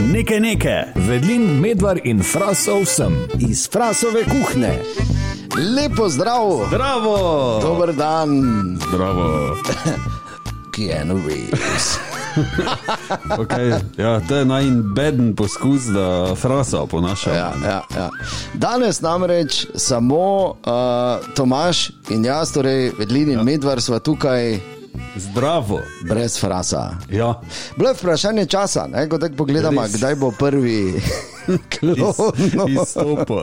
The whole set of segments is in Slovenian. Nekaj nekaj. Vedlin, medvar in frasov sem. Iz frasove kuhne. Lepo zdrav, Bravo! dober dan, Bravo. ki je novi. Okay. Ja, to je najbeden poskus, da frasa ponaša. Ja, ja, ja. Danes namreč samo uh, Tomaš in jaz, torej Vedlin in ja. Medvar, sva tukaj Zdravo. brez frasa. Ja. Bilo je vprašanje časa, ne, ko tako pogledamo, Res. kdaj bo prvi klon. Iz, no. izstopo.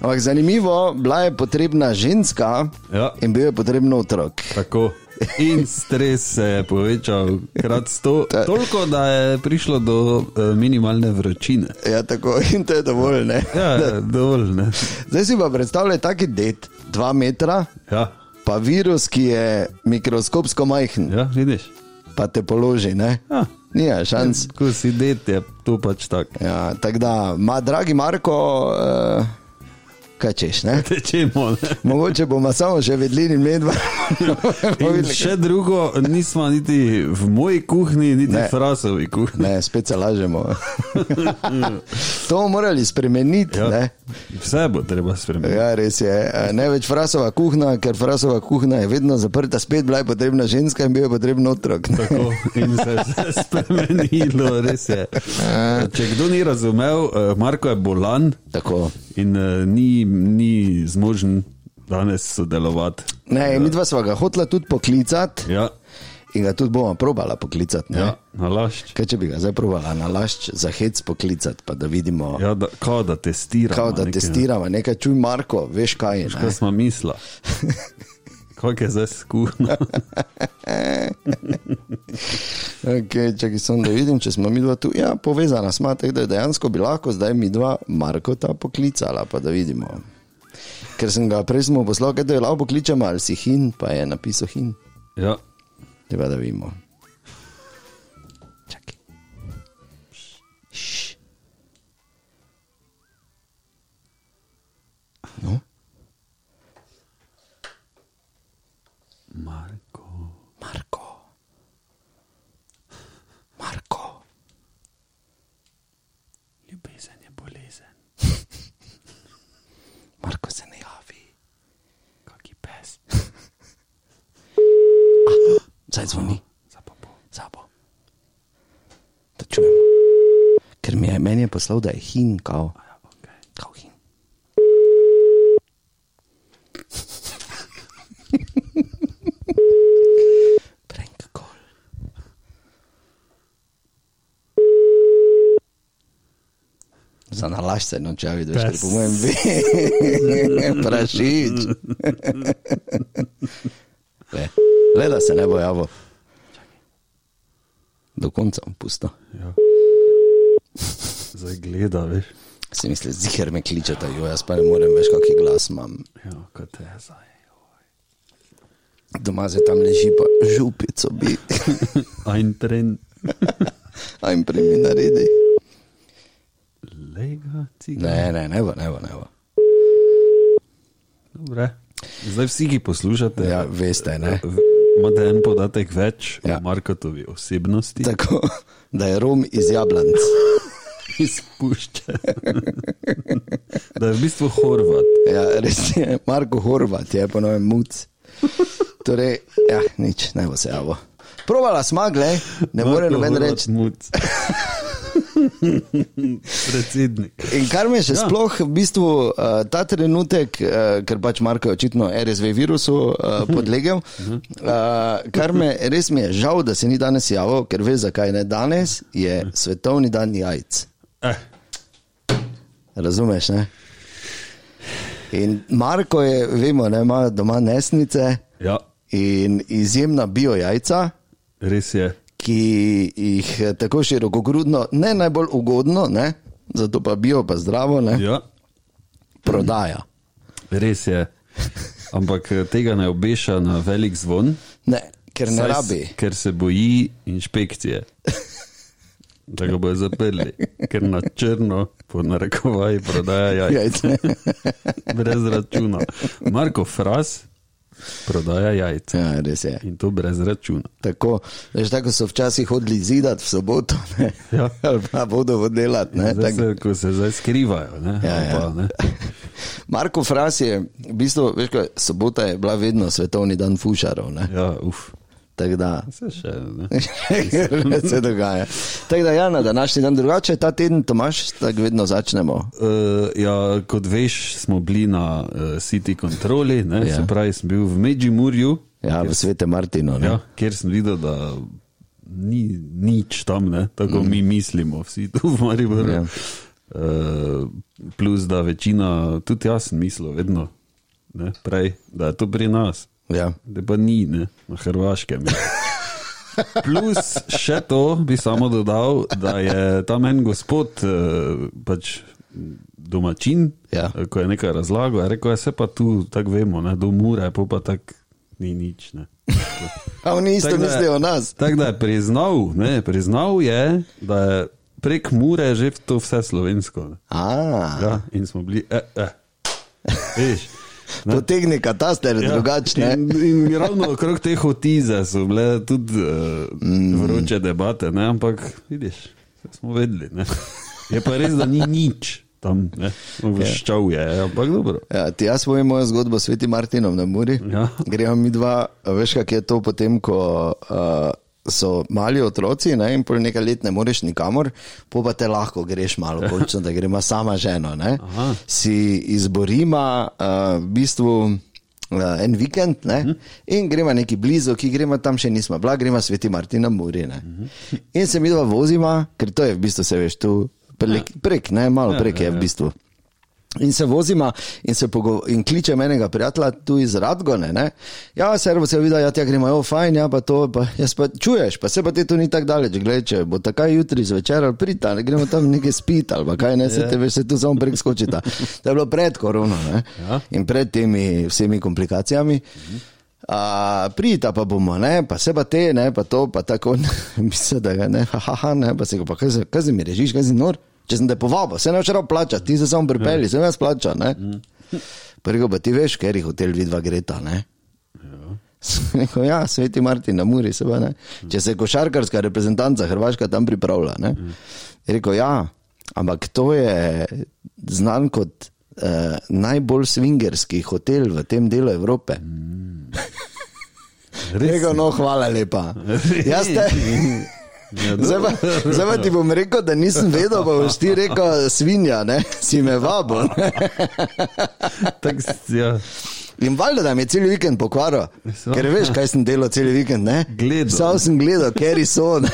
Ampak zanimivo, bila je potrebna ženska Ja. in bil je potreben otrok. Tako. In stres se je povečal krat sto, toliko, da je prišlo do eh, minimalne vročine. Ja, tako in to je dovolj. Ne? Ja, ja, dovolj. Ne? Zdaj si pa predstavljaj taki det, dva metra, Ja, pa virus, ki je mikroskopsko majhen, ja, vidiš. pa te položi. Ne? Ja. Nija šans. Ko si det, je to pač tako. Ja, tako da, ma, dragi Marko, uh, kaj češ, ne? Tečemo. Ne? Mogoče bomo samo še vedeli in medva. In še drugo, nismo niti v moji kuhinji, niti Ne. v Frasovi kuhinji. Ne, spet se lažemo. to bomo morali spremeniti. Ja. Ja. Vse bo treba spremeniti. Ja, res je. Eh, Ne več frasova kuhna, ker frasova kuhna je vedno zaprta, spet bila je potrebna ženska in bil je potreben otrok. ne. Tako, in se je vse spremenilo, res je. Če kdo ni razumel, eh, Marko je bolan Tako. in eh, ni, ni zmožen danes sodelovati. Ne, mi dva sva ga hotla tudi poklicati Ja, in ga tudi bomo probala poklicati. ne. ja nalašč. Kaj če bi ga zdaj probala na lašč za hec poklicati, pa da vidimo, ja, Ja, da, kao da testiramo. kao, da Ja, nekaj, ne. testiramo nekaj, čuj Marko, veš kaj je. Kaj ne. smo mislili? Kako je zdaj skuhno? Okay, čakaj, sem, da vidim, če smo mi dva tu, ja, povezana smo, tako da dejansko bi lahko zdaj mi dva Markota poklicala, pa da vidimo. Ker sem ga prej smo poslal, kaj da je lahko pokličemo, ali si hin, pa je napisal hin, Ja, te pa da vidimo. Čakaj. Šš. No, Marko. Marko. Marko. Ljubezen je bolezen, Marko se ne javi. kaki pes. Zdaj zvoni. Zapopo. sabo. Da čujem. Ker mi je meni je poslal, da je hin, kao, kao hin. Prank call. Zanalaš se, no, če ja vidiš, ker po mojem ve, prašič. Le, le da se ne bo javil. Do konca bom pusto. Ja. Zdaj gleda, veš. Se mi zdi, ziger me kličete, jo jaz pa ne morem več, kakšen glas imam. Ja, kot je zdaj. Doma se tam leži, pa župico bi, Ein tren, a jim primi naredi. lega, cigar. Ne, ne, ne bo, ne bo, ne bo. Dobre. Zdaj vsi, ki poslušate, Ja, veste, ne. v- imate en podatek več ja. Ja. o Markotovi osebnosti, da Tako, da je rom iz Jablanc. izpušča. da je v bistvu Horvat. Ja, res je, Marko Horvat je ponovem muc. Torej, ja, nič, ne bo se javo. Provala smagle, ne more Marko noben Horvat reči. Muc. Predsednik. In kar me še ja. sploh, v bistvu eh, ta trenutek, eh, ker pač Marko je očitno RSV virusu eh, podlegel, eh, kar me res mi je žal, da se ni danes javil, ker veš, zakaj ne danes, je svetovni dan jajc. Eh, Razumeš? Ne? In Marko je, vemo, da ima doma nesnice ja, in izjemna bio jajca. res je. Ki jih eh, tako širokogrudno, ne najbolj ugodno, ne? zato pa bio, pa zdravo, ne? Ja. prodaja. Res je. Ampak eh, tega ne obeša na velik zvon, Ne, ker ne saj s- rabi. ker se boji inšpekcije. Da ga bojo zaprli, ker na črno, po narekovaji, prodaja jajca Jajce. brez računa. Marko Fras Prodaja jajca. Ja, res je. In to brez računa. Tako, veš, tako so včasih hodili zidati v soboto, ne? Ja. ali pa bodo delati. Ne? Zdaj, Tako- se, ko se zdaj skrivajo. Ne, Ja, ali ja. Pa, ne. Marko Fras je, v bistvu, veš, kaj, sobota je bila vedno svetovni dan fušarov. Ne? ja uf. Tako da. Se še ne. se dogaja. Tako da, ja, na današnji dan drugače, ta teden, Tomaš, tako vedno začnemo. Uh, ja, kot veš, smo bili na uh, City Controli, ne, Ja. ja. se pravi, sem bil v Međimurju, Ja, v svete Martino. ne. ja, kjer sem videl, da ni nič tam, ne, tako mm. mi mislimo, vsi tu v Mariboru. Ja. Ja. Uh, plus, da večina, tudi jaz sem mislil, vedno, ne, prej, da je to pri nas. Ja. da pa ni, ne, na Hrvaškem. je. Plus še to bi samo dodal, da je tam en gospod, eh, pač domačin, Ja. eh, ko je nekaj razlagal, je rekel, se pa tu tako vemo, ne, do mure, pa pa tako ni nič. Ne. A oni isto Tako da- mislijo o nas. Tako da je priznal, ne, priznal je, da je prek mure že to vse slovensko. Ne. A, Ja, in smo bili, eh, eh. Veš, ne. Potegni kataster, ja. drugačne. In, in ravno okrog teh otize so bile tudi uh, mm. vroče debate, ne? ampak vidiš, saj smo vedeli. Ne? Je pa res, da ni nič tam, ne? vrščal je, ampak dobro. Ja, ti jaz povem mojo zgodbo s svetim Martinom na Muri. Ja. Gremo mi dva, veš, kako je to potem, ko uh, so mali otroci ne, in pol nekaj let ne moreš nikamor, pol pa te lahko greš malo, končno, da gremo sama ženo. ne. Si izborima uh, v bistvu. eh, En vikend, Mhm. ne? in gremo neki blizu, ki gremo tam še nismo, bila, gremo sveti Martina Muri. ne. Mhm. In se mi dva vozima, ker to je v bistvu, se veš, tu prek, Ja. prek ne, malo prek je v bistvu. In se vozima in, se pogo- in kliče menega prijatelja tu iz Radgone. Ne? Ja, servo se vidi, ja, ti gremo, jo, fajn, ja, pa to, pa jaz pa čuješ, pa se pa ti tu ni tako daleč, gledaj, če bo tako jutri zvečer ali prita, ne gremo tam nekaj spiti ali pa kaj ne, se te veš, se tu samo preskočita. To je bilo pred korono ne? in pred temi vsemi komplikacijami. A, prita pa bomo, ne, pa se pa te, ne, pa to, pa tako, mislim, da ga ne, haha, ne, pa se ga pa, kaj se, kaj se mi režiš, kaj si nor. Če sem te povabil, se ne boš rab plačati, ti se samo pripelji, se ne splača. ne. Prvo pa ti veš, ker je hotel vidva greta. Ne? Sem Rekel, ja, sveti Martin na Muri, se ne. Če se košarkarska reprezentanca Hrvaška tam pripravlja. Ne? Je Rekel, ja, ampak to je znan kot eh, najbolj svingerski hotel v tem delu Evrope. Mm. Rekel, no, hvala lepa. Jaz te. Ja, Zdaj dobro. pa, zdaj pa ti bom rekel, da nisem vedel, pa boš ti rekel, svinja, ne? si me vabo. Ne? Tako s- ja, In valjda, da mi je cel vikend pokvaro, So. ker veš, kaj sem delal cel vikend. ne? Gledal. Vsaj sem gledal, ker so, ne?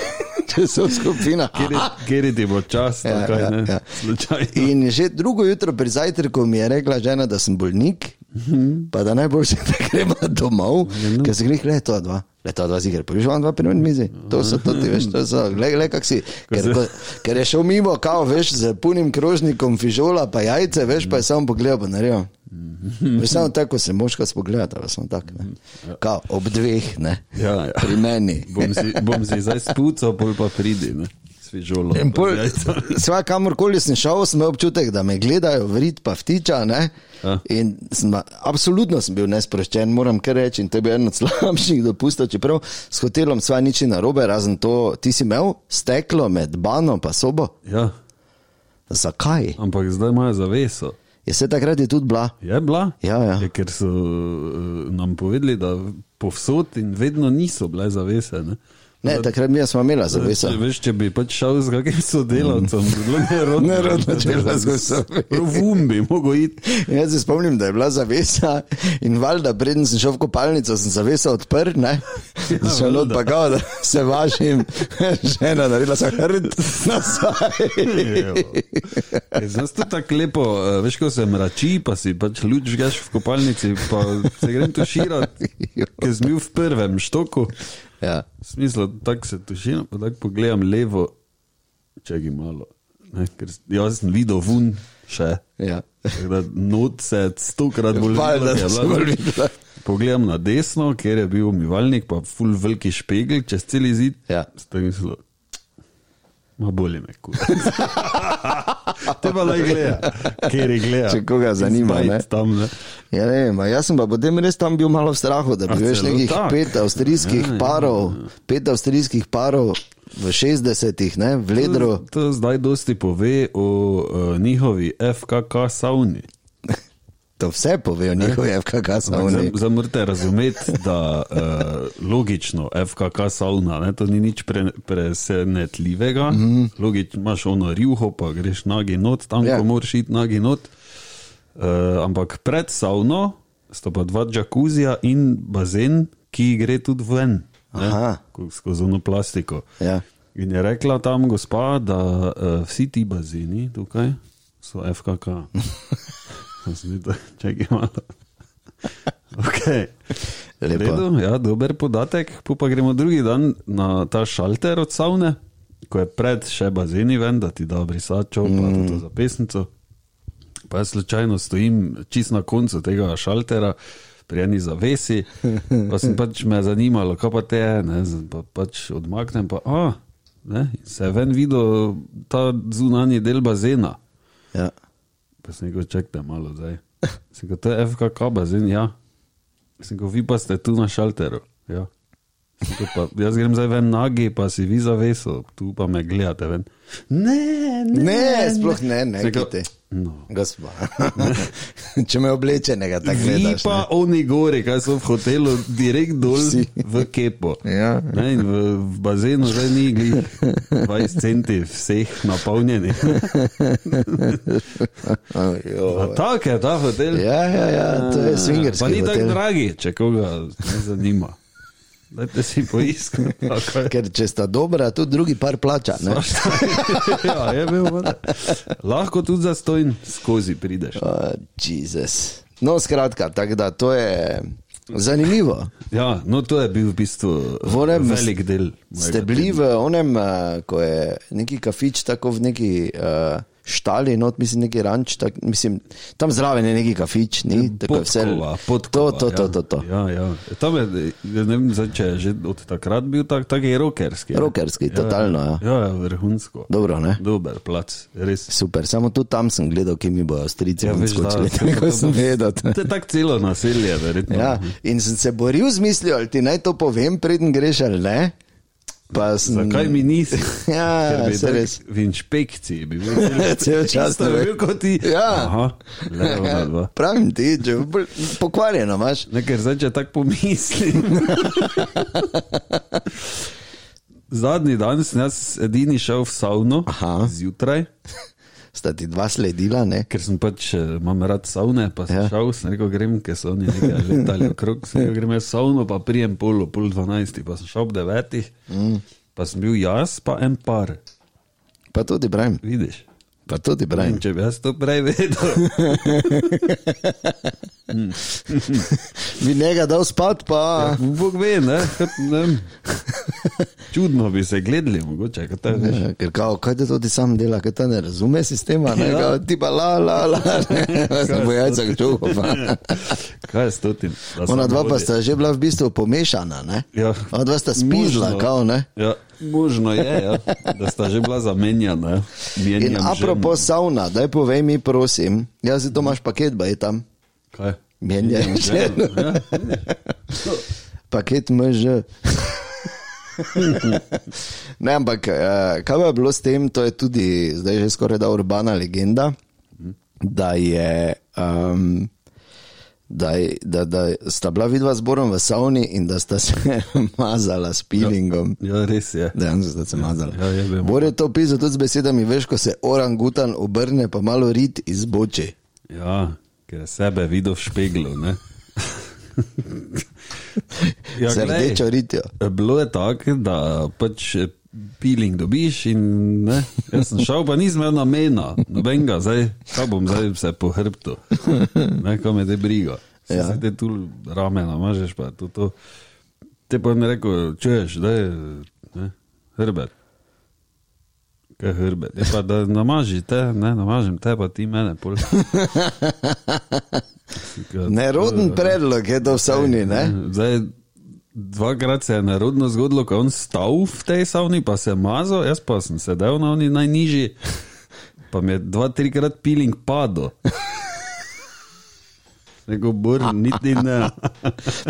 če so skupina. kjer je- Kjer je ti bo čas, Ja, tako ja, ja, ne. ja. Ja. Slučajno. In že drugo jutro pri zajtrku mi je rekla žena, da sem bolnik, Mhm. pa da najboljše, da gremo domov, ker se greh leto dva. Leto dva ziger, pojdi vam dva primer mizi. To so to ti, veš, to so, gled, gled, kak si. Ker, ko, ker je šel mimo, kao, veš, z punim krožnikom fižola, pa jajce, veš, pa je samo pogledal, pa naredil. Mhm. Veš, samo tako se moška spogledata, pa samo tako. ne. Kao, ob dveh, ne. Ja, ja. Pri meni. Bom si, bom si zdaj spucal, pol pa pridi, ne. Svižolo. In pol, Jajca. sva, kamorkoli sem šel, sem imel občutek, da me gledajo, vrit pa vtiča. Ne? Ja. In sem, absolutno sem bil nesproščen, moram kar reči. In to je bil eden od slabših dopustov, čeprav s hotelom sva nič ni narobe, razen to, ti si imel steklo med bano in sobo. Ja, Zakaj? ampak zdaj imajo zaveso. Je se takrat je tudi bila. Je bila? Ja, ja. Je, ker so eh, nam povedali, da povsod in vedno niso bile zavese. Ne? Ne, takrat mi smo imeli zaveso. Če, veš, če bi pač šel z kakim sodelavcem, bi bilo nerodno, Nerodno, če bi bila z zavese. Vum bi mogel iti. In Jaz se spomnim, da je bila zavesa in valjda, preden sem šel v kopalnico, sem zavesa odprl, ne. Ja, valjda. sem not pa kao, da se vašim žena naredila sem hrt nazaj. Zdaj to tako lepo, eh, veš, ko se mrači, pa si pač luč gaš v kopalnici, pa se grem tuširati, ker sem bil v prvem štoku. Ja. Smisel, tako se tuširam, pa tako pogledam levo, če gi malo. Ne, ker s- jaz sem videl vun še. Ja. Tako da Not se je stokrat bolj Valjda, da se bolj videla. Pogledam na desno, kjer je bil umivalnik, pa ful veliki špegel čez cel izid. Ja. Ste mislili, Ma boli me, kuj. Te pa le gleda, kjer je gleda. Če koga zanima, Izbajt ne. Tam, ne. Ja, ne vem, a jaz sem pa potem res tam bil malo v strahu, da A bi več celo nekih tako? pet avstrijskih Ja, ja. parov, pet avstrijskih parov v 60-ih, ne, v ledru. To, to zdaj dosti pove o uh, njihovi FKK savni. To vse povejo njihovi Eh? FKK Zdaj- savni. Zdaj morate razumeti, da uh, logično FKK savna, ne, to ni nič pre, presenetljivega. Mm -hmm. Logično imaš ono rjuho, pa greš nagi not, tam Mhm. Ja. yeah. moraš iti nagi not. Uh, ampak pred savno sta pa dva džakuzija in bazen, ki gre tudi ven, Aha. ne, ko- skozi ono plastiko. Ja. In je rekla tam gospa, da uh, vsi ti bazeni tukaj so FKK. Zdaj, čakaj malo. Okay. Lepo. Redu, ja, dober podatek. Po pa gremo drugi dan na ta šalter od savne, ko je pred še bazeni ven, da ti da brisačo, mm. pa tudi to zapesnico. Pa jaz slučajno stojim čist na koncu tega šaltera, pri eni zavesi, pa sem pač me zanimalo, kaj pa te je, ne, z- pa pač odmaknem, pa a, ne, in se je ven videl ta zunanji del bazena. Ja. Pa sem rekel, čekajte malo zdaj. Sem rekel, to je FKK bazen, ja. Sem rekel, vi pa ste tu na šalteru. Ja. Sem Rekel, pa, jaz grem zdaj ven nagi, pa si vi zaveso, tu pa me gledate ven. Ne, ne, Ne, sploh ne, ne, Sem rekel, kite. No. Gospa. Če me oblečenega tako Vi gledaš. pa ne. oni gori, kaj so v hotelu, direkt dol Vsi. v kepo. Ja. Ne, in v, v bazenu zdaj ni glih 20 centi vseh napolnjenih. Ajoj. Tako je ta hotel. oh, Ja, ja, ja, to je swingerski Pa ni tako hotel. dragi, če koga ne zanima. Dajte si poiskati. kako je. Ker če sta dobra, tudi drugi par plača. Ne? ja, je bil, vada. Lahko tudi za stojn skozi prideš. Ah, Jezus. No, skratka, tako da to je zanimivo. Ja, no to je bil v bistvu eh, Vonem, velik del. mojega Ste bili v onem, eh, ko je neki kafič, tako v neki uh, štali, not, mislim, neki ranč, tak, mislim, tam zraven je neki kafič, ni tako je vse. Podkova, to, podkova, to, to, ja. to, to. Ja, ja. Tam je, ne vem, zdaj, če je že od takrat bil tak, tak je rokerski. ne? Rockerski, Ja. totalno, ja. Ja, ja, vrhunsko. Dobro, ne? Dober plac, res. Super, samo tudi tam sem gledal, ki mi bojo strici Ja, ja, veš, da, skočili, to- tako to- sem vedel. To je tako celo naselje, verjetno. Ja, in sem se boril z mislijo, ali ti naj to povem, preden greš ali ne. Pa sem, Zakaj mi nisi? Ja, Ker bi saj tako res. Ja, V inšpekciji bi bil Cel čas Isto ne bi ve. bil kot ti. Ja. Aha, le ona dva. Pravim ti, če bolj pokvarjeno imaš. Ne, ker zdaj, če tako pomislim. Zadnji dan sem jaz edini šel v savno Aha. zjutraj, Sta ti dva sledila, ne? ker sem pač eh, imam rad savne, pa sem Ja. ja. šel, sem rekel, grem, ker so oni nekaj letali okrog, sem rekel, grem jaz v savno, pa prijem pol, ob pol dvanajstih, pa sem šel ob devetih, mm. pa sem bil jaz, pa en par, Pa tudi pravim, vidiš. pa tudi pravim. In če bi jaz to prej vedel, Bi njega dal spat, pa Bog ve, ne, kot, ne vem. čudno bi se gledali, mogoče, kot te veš. ja. ker kao, kaj te to ti sam dela, ker ta ne razume sistema, ne, Ja. kao, ti pa la, la, la, ne, ne bo jajca čuho. Kaj je s tem? Ona dva pa sta že bila v bistvu pomešana, ne? Ja. Ona dva sta spizla, Možno. kao, ne? Ja, možno je, ja, da sta že bila zamenjana. In apropo savna, daj povej mi, prosim, jaz si to imaš paket, baj tam. Kaj? Menjam že. Ja, Paket MŽ. ne, ampak eh, kaj pa je bilo s tem, to je tudi zdaj že skoraj da urbana legenda, da je. Um, Da, je- da, da sta bila vidva zborom v savni in da sta se mazala s pilingom. ja, res je. Dejansko sta se mazala. Ja, ja, vem. Bor je to pisal tudi z besedami, veš, ko se orangutan obrne, pa malo rit izboči. Ja, ker je sebe videl v špeglu. Ne? Ja, z glej. rdečo ritjo. Bilo je tako, da pač piling dobiš. In, ne, jaz sem šel, pa nisem imel namena, nobenega, zdaj kaj bom zdaj vse po hrbtu, ne kam je te briga. Ja. Ja. Zdaj te tu ramena, mažeš pa to. to. Te pa mi reko, čuješ, da je ne, hrbet. Kaj je hrbet? Je pa da namaži te, ne namažem te, pa ti mene. pol. Sem rekel, Ja. Neroden predlog je to v savni, ne? Zdaj, Dvakrat se je narodno zgodilo, ko je on stal v tej savni, pa se je mazal, jaz pa sem sedel na oni najnižji, pa mi je dva, trikrat piling padel. Neko burn, niti ne. Ja.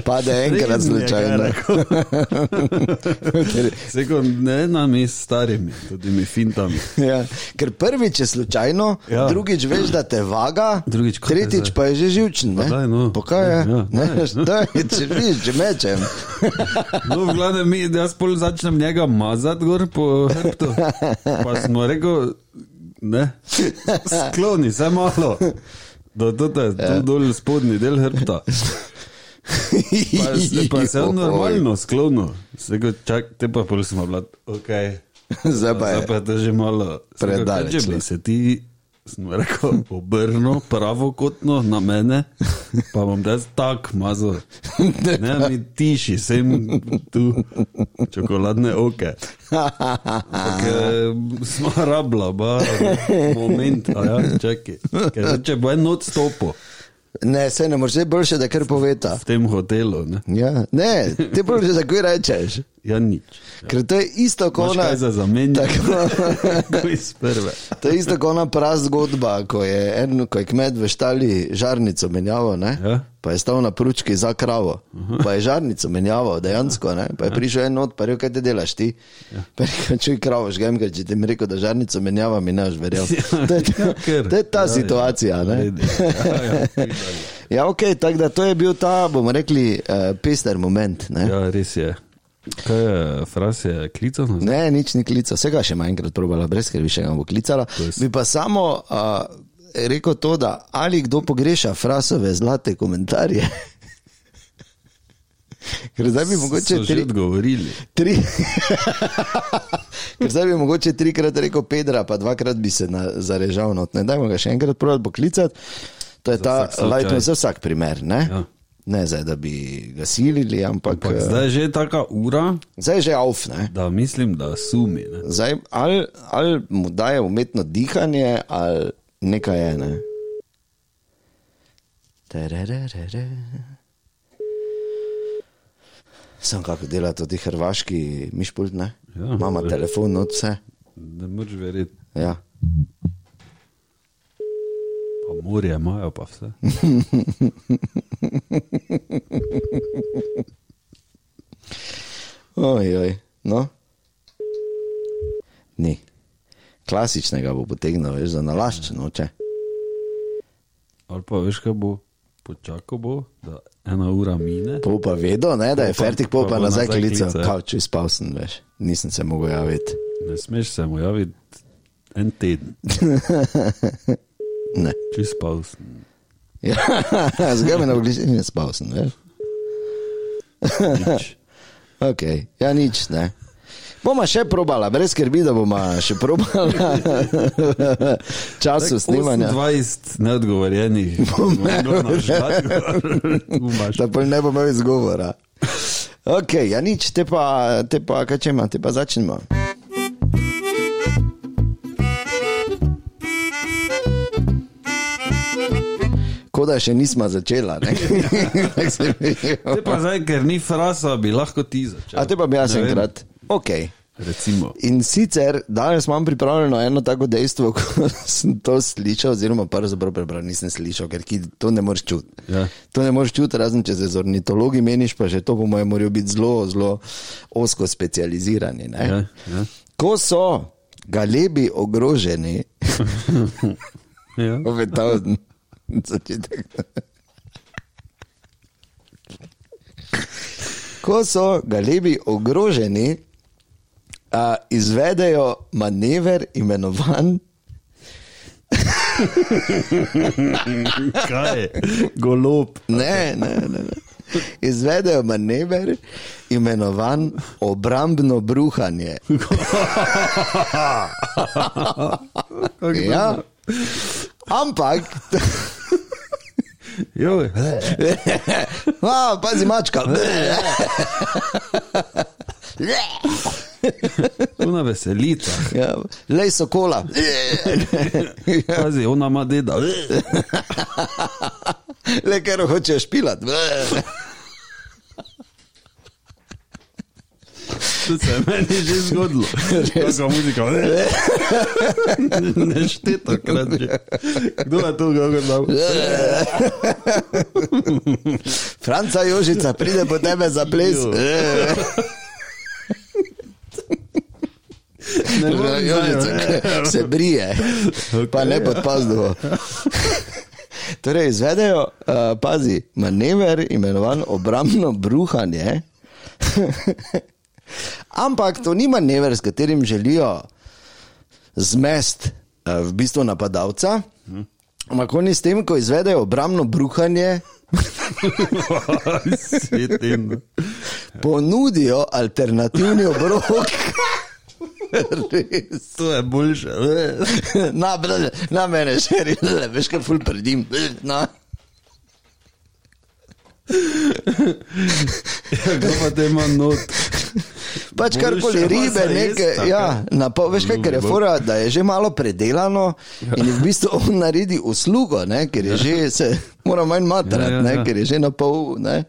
Pade enkrat Rezni je kaj slučajno. rekel. Seko, ne nami starimi, tudi mi fintami. Ja. Ker prvič je slučajno, Ja. ja. drugič veš, da te vaga, Drugič, kaj tretjič zdaj? pa je že živčen. ne? daj, no. Pa kaj je? Ja, Ne, daj, daj, če vidiš, če mečem. No, v glavnem, mi- jaz pol začnem njega mazati gor po hrbtu. Pa smo rekel, ne, skloni se malo. Da, to je ja. dol spodnji del hrbta. Pa, se- pa se je on normalno sklonil. Seko, čak, te pa pol smo bila, ok. Zdaj pa je. Zdaj pa je to že malo. Sem rekel, predaleč, "Kaj, Če ne?" bi se ti, sem rekel, obrnil pravokotno na mene, pa bom da tak mazal. Ne, mi tiši, sem tu, čokoladne oke. Ampak, eh, Smo rabla, ba, moment, a ja, čakaj. Ker zdaj, Če bo en odstopil Ne, se ne moreš, zdaj boljše, da kar poveta. v tem hotelu, ne, Ja. Ne, ti boljše, da kaj rečeš. ja nič. Ker to je isto kot Ona ona. je za zamenjavo. Tako. Tako iz prve. To je isto kot ona prazna zgodba, ko je en, ko je kmet v štali žarnico menjavo, ne? Ja. Mhm. pa je stal na pručki za kravo, pa je žarnico menjavo, dejansko. Ne? Ja. Pa je prišel en not, pa je rekel, kaj te delaš ti. Pa je rekel, čuj kravo, žgem, ker če ti mi rekel, da žarnico menjava, mi ne boš verjel. Ja, To je, ja, ker. to je ta Ja, ja. situacija. Ne? Redi. Ja, ja, videli. Ja, ok, tako da to je bil ta, bomo rekli, uh, pester moment. Ne? Ja, res je. Kaj je, fras je klical? Ne? Ne, nič ni klical, vse ga še manj enkrat probala, brez skrbi še ga bo klicala. Bi pa samo a, rekel to, da ali kdo pogreša frasove zlate komentarje. Ker zdaj bi mogoče so že tri, odgovorili. tri, ker zdaj bi mogoče trikrat rekel Pedra, pa dvakrat bi se na, zarežal. Not. Ne dajmo ga še enkrat probati poklicati. To je ta vsak slučaj. lajtno za vsak primer. Ne? Ja. Ne zdaj, da bi ga silili, ampak, Ampak ampak zdaj je že taka ura, zdaj je že avf. Ne? da mislim, da sumi. Ne? Zdaj, ali, ali mu daje umetno dihanje, ali nekaj je. Ne? Terererere. Sem kako dela to ti hrvaški mišpult, ne? Ja. Mama telefon, not vse. Ne moreš verjeti, Ja. pa morje imajo, pa vse. Ojoj, no. Ni. Klasičnega bo potegnil, veš, za nalašč noče. Ali pa veš, kaj bo, počakal bo, da ena ura mine. Pol pa vedo, ne, da je Pol pa- fertik, pol pa pa bo nazaj nazaj klical. klical, ja. Kao, čuj, spal sem, veš. Nisem se mogel javiti. Ne smeš se mu javiti en teden, Ne. čez paus. Ja, Zgoraj me na ogledu in spal sem. Veš? Okay. Ja, nič ne. Bomo še probala, brez skrbi, da bomo še probala času snemanja. 20 neodgovorjenih, no, na žlad, umaš. Da pa ne bo imel izgovora. Ok, ja, nič, te pa, te pa, kaj če ima, te pa začnemo. Kot da še nismo začela. ne. Tako se mi- Te pa zdaj, ker ni frasa, bi lahko ti začel. A te pa bi jaz Ne vem, enkrat. Okay. Recimo. In sicer danes imam pripravljeno eno tako dejstvo, ko sem to slišal, oziroma pravzaprav prebral, nisem slišal, ker ki, to ne moreš čutiti. Ja. To ne moreš čutiti, razen če se z ornitologi meniš, pa še to, po mojem, morajo biti zelo, zelo osko specializirani. ne. Ja, ja. Ko so galebi ogroženi, Ja. obetal začetek. Ko so galebi ogroženi, a, izvedejo manever imenovan Kaj je? Golob. Ne, ne, ne. ne. Izvedejo manever, imenovan obrambno bruhanje. ja. Ampak, Joj. a, pazi mačka. Tu na veselica. Ja, Lej so kola. Ja. Pazi, ona ima deda. Le ker hočeš pilat. To se je meni že zgodilo. Taka muzika, ne? Ne šteta, krat že. Kdo je to kako dal? Franca Jožica pride po tebe za ples. Jo. Eh, Ne Franca morem Jožica zdaj, ne. se brije, pa ne pod pazduho. ja. Torej, izvedejo, uh, pazi, manever imenovan obrambno bruhanje. Ampak to ni manever, s katerim želijo zmest eh, v bistvu napadalca, ampak oni s tem, ko izvedejo obrambno bruhanje, Svetim. ponudijo alternativni obrok. Res. To je boljše. ne. Na, brže, na mene še reče, veš, kaj ful prdim. Na. Kdo pa te ima not? Pač Boljše karkoli pa ribe, za jest, nekaj, taka. ja, na pol, veš kaj, ker je fora, da je že malo predelano in je v bistvu on naredi uslugo, ne, ker je že, se mora manj matrati, Ja, ja, ne, ja. ker je že na pol, ne.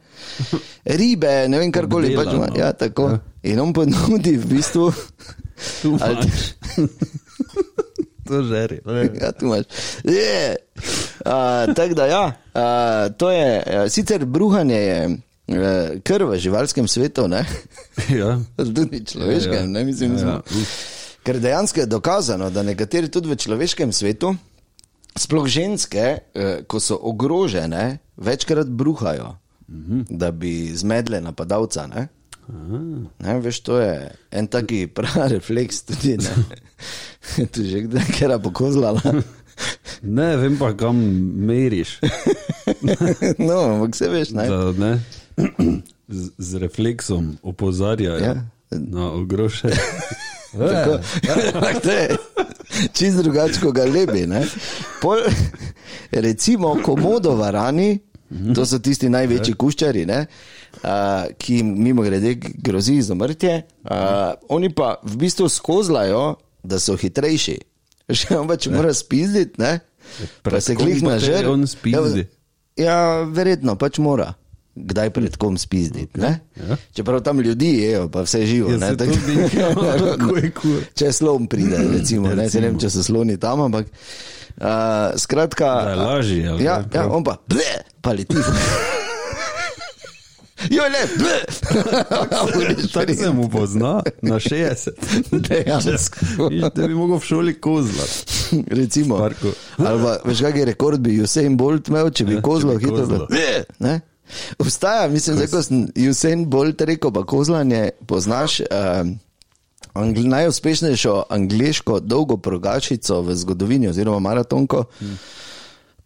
Ribe, ne vem, karkoli pač ima, Obdelano. ja, tako. In on ponudi v bistvu, Tu Ali- imaš. To žeri. ne. ja, tu imaš. Je. A, Tako da ja, a, to je, a, sicer bruhanje je eh, kar v živalskem svetu, ne, Ja. Ja, tudi ja. človeškem, ne, mislim, Ja, smo. ja. Ker dejansko je dokazano, da nekateri tudi v človeškem svetu, sploh ženske, eh, ko so ogrožene, večkrat bruhajo, Mhm. da bi zmedle napadalca. Ne? Ne, veš, to je en taki pravi refleks, tudi ne. Tu že kdaj kera pokozlala. Ne, vem pa, kam meriš. No, ampak se veš, ne. Da, ne, z, z refleksom opozarjajo Ja. ja. na ogrožene. Tako, Ja. ampak to je čist drugače, kot ga lebi. ne. Pol, recimo, komodo varani, Mhm. to so tisti največji Ja. kuščari, ne, a, ki jim mimo grede grozi izumrtje. a, Mhm. Oni pa v bistvu skozlajo, da so hitrejši. Že on pač mora spizditi, ne? Pa Ja. Pred se kom klih pa na te žrtev. on spizdi? Ja, verjetno pač mora. Kdaj pred kom spizditi? ne. Čeprav tam ljudi jejo, pa vse živo. Ja, ne, se to tako- bi- ja, tako je kul. Če slon pride, recimo, ne, se ne vem, če so sloni tam, ampak uh, skratka. Da je lažje, ali Ja, kaj? ja, on pa, ble, pa leti. Jo, ne, ble. Tako se mu pozna, na 60. Dejansko. Viš, da bi mogel v šoli kozlati. Recimo. Parku. Ali pa, veš, kakšen rekord bi Usain Bolt imel, če bi Ja, kozlo če bi hitro. kozlo. bilo, "Ble", Ne? Obstaja, mislim, da ko sem Usain Bolt rekel, pa kozlanje poznaš. Um, Angl najuspešnejšo angliško dolgo progačico v zgodovini, oziroma maratonko, hmm.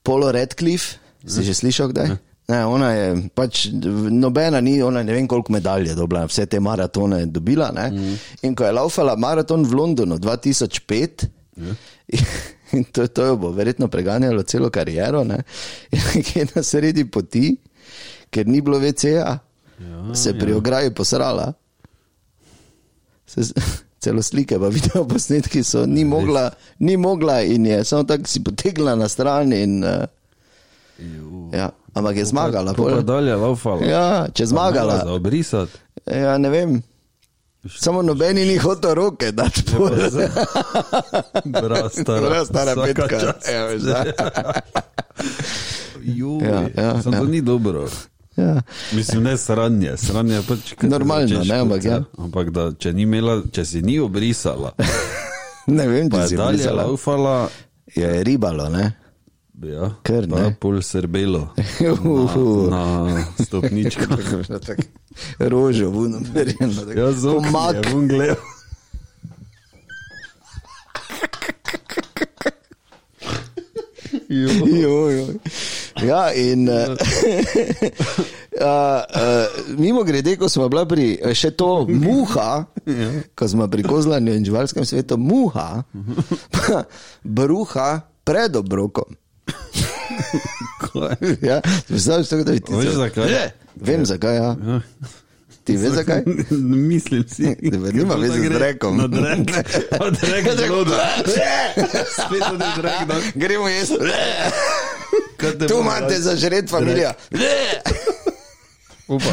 Polo Redcliffe, si že slišal kdaj? Ne, ona je pač nobena, ni, ona ne vem koliko medalj je dobila, vse te maratone je dobila. Mm. In ko je laufala maraton v Londonu 2005, in to, to jo bo verjetno preganjalo celo kariero, ne, je na sredi poti, ker ni bilo VCA, ja, se pri ja. ograji posrala. Se, s- celo slike, pa video posnetki so, ni mogla, ni mogla in je samo tako si potegla na stran. In, uh, ja. Ampak je zmagala. Pol pa pol. dalje laufala. Ja, če Mala Za zmagala, obrisati. ja, ne vem. Samo nobeni ni hotel roke, da ti poveš. Bra, stara, Dobra, stara vsaka petka. čast. Ja, veš, da. Juj, Ja, ja, Samo ja. to ni dobro. Ja. Mislim, ne sranje, sranje je pač kaj. Normalno, ne, ampak ja. Ampak da, če, ni imela, če si ni obrisala, Ne vem, pa če je si dalje videl. laufala, Je, je ribalo, ne? ja, Kar pa ne. je pol srbelo Uhu. na stopničkah. Rožo, vuno, verjetno. tako. Jaz zelo Komak. Ja, bom gledal. Joj, joj. Ja, in uh, uh, mimo grede, ko smo bila pri eh, še to muha, ko smo pri kozlanju in živalskem svetu, muha, pa bruha pred obrokom. Kaj? Ja, Znaš, tako da bi ti Veš zakaj? Je, Vem zakaj. Ja. Ti veš zakaj? Mislim si. Da me nima Kako veze da z gre? drekom. Na drek. Od dreka zelo da. Spet od drek. no. Gremo jaz. Kaj te Tu bo imate naredil? za žret, familija. Upam.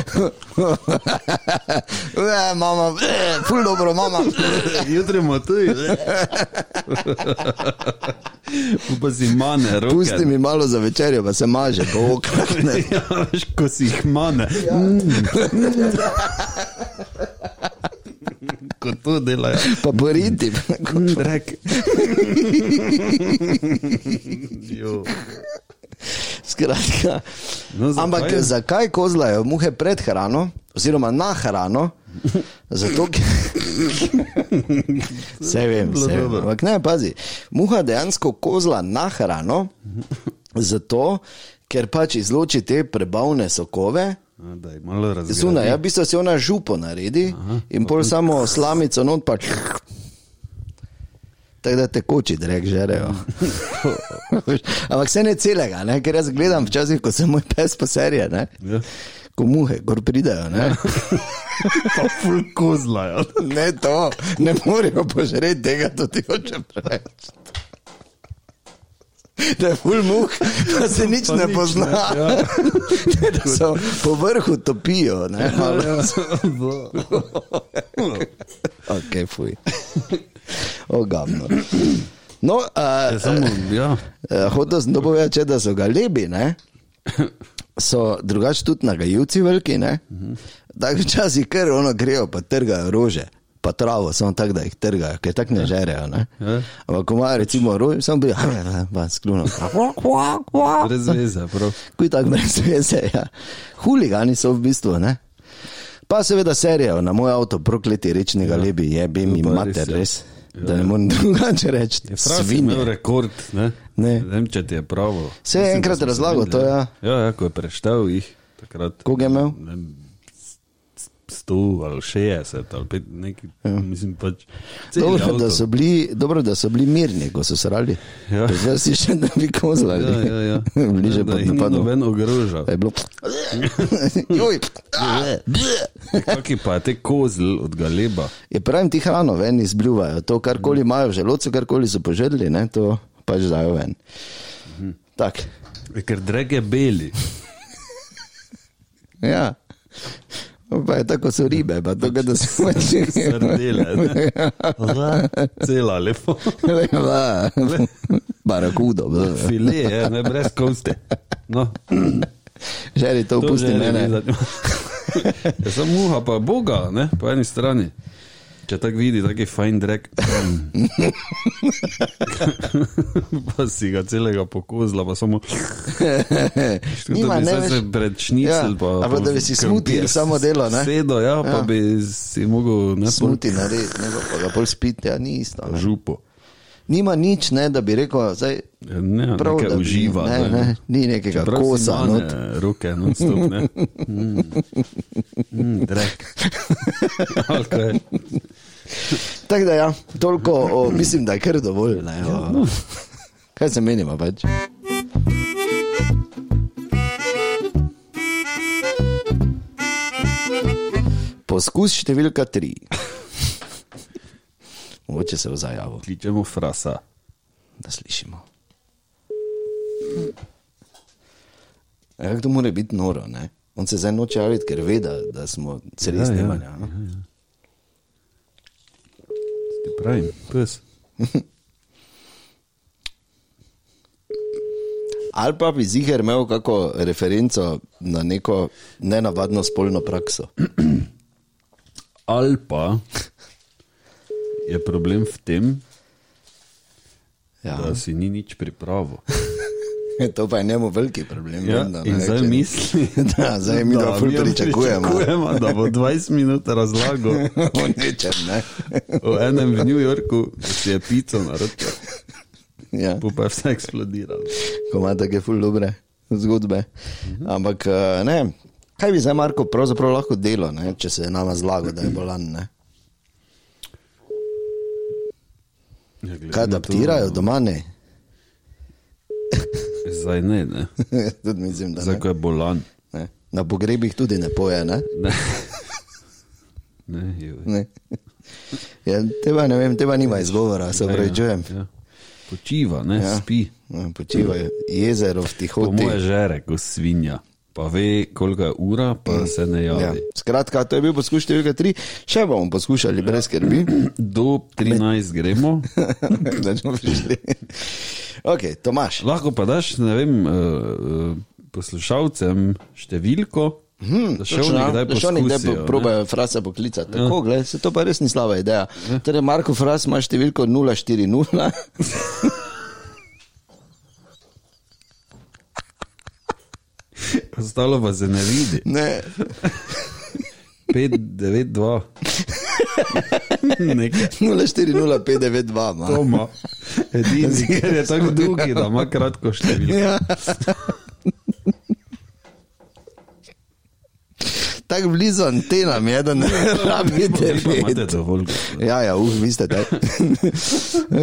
Ue, mama, ue, ful dobro, mama. Jutri mu tudi. Pa si mane, roke. Pusti mi malo za večerjo, pa se maže, pa okratne. Ja, veš, ko si jih mane. Ja. Mm. Ko to delajo. Pa boriti. Rek. Jo. Skratka. No, zakaj Ampak je? zakaj kozlajo muhe pred hrano, oziroma na hrano? Zato, ker. Vse vem, vse vem. dobro. Ampak ne, pazi. Muha dejansko kozla na hrano, zato, ker pač izloči te prebavne sokove. A, Daj, malo razumem. Zunaj, ja, v bistvu si ona župo naredi Aha, in pol samo slamico not pa. Tako da tekoči, drek, žerejo. Ampak se ne celega, ne? ker jaz gledam včasih, ko se moj pes poserje, ne? Ja. ko muhe, gor pridajo. Ne, Pa ful ja. kozlajo. ne to, ne morejo požreti tega, to ti hočem reči. Da je full muh, da se nič Pa ne nič, pozna, ne, Ja. ja. da se po vrhu topijo. Ne, malo. Ok, fuj. Ogabno. No, Ja, uh, Samo, ja. uh, hotel sem to povedati, če da so ga lebi, ne? so drugače tudi nagajivci veliki. ne. Tako včasih kar ono grejo, pa trgajo rože. Pa travo, samo tako, da jih trgajo, ker tako ne žerejo. Ne? Ja. Ampak, ko imajo recimo rož, samo bi pa skluno. Brez veze, prav. Kuj tako brez veze. Ja. Huligani so v bistvu. Ne? Pa seveda serijo na moj avto, prokleti rečnega ja. lebi, je bi mi pa res, mater ja. res. Ja. Da ne morem drugače reči. Je Fras je imel Svinje. rekord, ne? Ne. Vem, če ti je pravo. Se je Mislim, enkrat da smo se razlagal videli, to, ja. Ja, ja, ko je preštel jih takrat. Koga je imel? Ne vem, s- s- sto ali šestdeset ali pet, neki, ja. mislim pač. cel Dobro avto. da, so bili, dobro, da so bili mirni, ko so se rali. Ja. Ja. Zdaj si še ne bi kozlali. Ja, ja, ja. Bliže da pod jih ni napadom. noben ogrožal. Pa je bilo. Joj, Kaki pa je te kozl od galeba. je pravim ti hrano ven izbljuvajo, to Mhm. karkoli imajo v želodcu, karkoli so požrli, ne, to pač dajo ven. Mhm. Tako. Ja, Ker dreg je beli. Ja. Pa je tako so ribe, pa to, da se Ja. moče. Srdele. ne. Cela lepo. Barakudo. bla. File je, ne brez koste. No. Želi to To opusti že ne bi mene. zanimalo. Ja, Samo muha, pa Boga, ne, po eni strani. Če tako vidi, tako je fajn drek. Mm. pa si ga celega pokozla, pa samo. Nima, da bi ne zdaj veš. se pred šnicel, Ja, pa, ali pa da bi si smuti samo delo, ne. Sedo, ja, pa Ja. bi si mogel ne Smuti narediti, ne pa ga bolj spiti, ja, ni isto. pa Ne. župo. Nima nič, ne, da bi rekel, zdaj, Ja, Ne, prav, Prav, da bi, uživa. ne, ne, ni nekega Čeprav si kosa, mane, not. Roke, no, stop, ne. Mm. Mm, drek. Ali kaj? Tako da ja, toliko, o, mislim, da je kar dovolj. Ne, o, kaj se menimo pač? Poskus številka tri. Mogoče se vzajavo, Kličemo frasa. da slišimo. Ja, Kako to mora biti noro, ne? On se zdaj noče javiti, ker ve, da, da smo celi Ja, ja, ja. snemanja. Ja, ja. Ti pravim, pes. Ali pa bi ziger imel kako referenco na neko nenavadno spolno prakso. Ali pa je problem v tem, Ja. da si ni nič pripravo. To pa je njemu veliki problem. Ja, da, in zdaj misli, da zdaj mi da ful mi jo pričakujemo. pričakujemo, da bo 20 minut razlagal O nečem, ne? o enem v New Yorku, da si je pico naredil, Ja. pa je vse eksplodiralo. Ko ima take ful dobre zgodbe. Ampak eh, ne, kaj bi zdaj Marko pravzaprav lahko delo, ne? če se je nama zlago, da je bolan. Ne? Ja, glede na Kaj to- adaptirajo doma? Ne? Zdaj ne, ne. Tudi mislim, da Zdaj ne. ko je bolan. ne. Na pogrebih tudi ne poje, ne? Ne. Ne, joj. Ne. Ja, teba ne vem, teba nima izgovora, se Ja, ja, upravičujem. ja. Počiva, ne, Ja. spi. Ja, Počivaj jezero v Po tihoti. moje žere, ko svinja. pa ve, koliko je ura, pa se ne javi. Ja. Skratka, to je bil poskus številka 3, še bomo poskušali brez skrbi. Do 13 gremo, da smo prišli. Ok, Tomaš. lahko pa daš, ne vem, eh, eh, poslušalcem številko, da še Mhm, Točno, ja. nekdaj da še nekdaj poskusijo. ne. Ja. probejo frasa poklicati. Tako, gled, se to pa res ni slaba ideja. Torej, Marko Fras ima številko 040. Ostalo pa se ne vidi. Ne, 592. Nekaj 040592 ima. doma. Edini, ker je tako dolgi, da ima kratko številko. Ja. Tako blizu antenam je, da ne rabite Ne, pa Imate vedeti. dovolj. Ja, ja, uh, vi ste tak.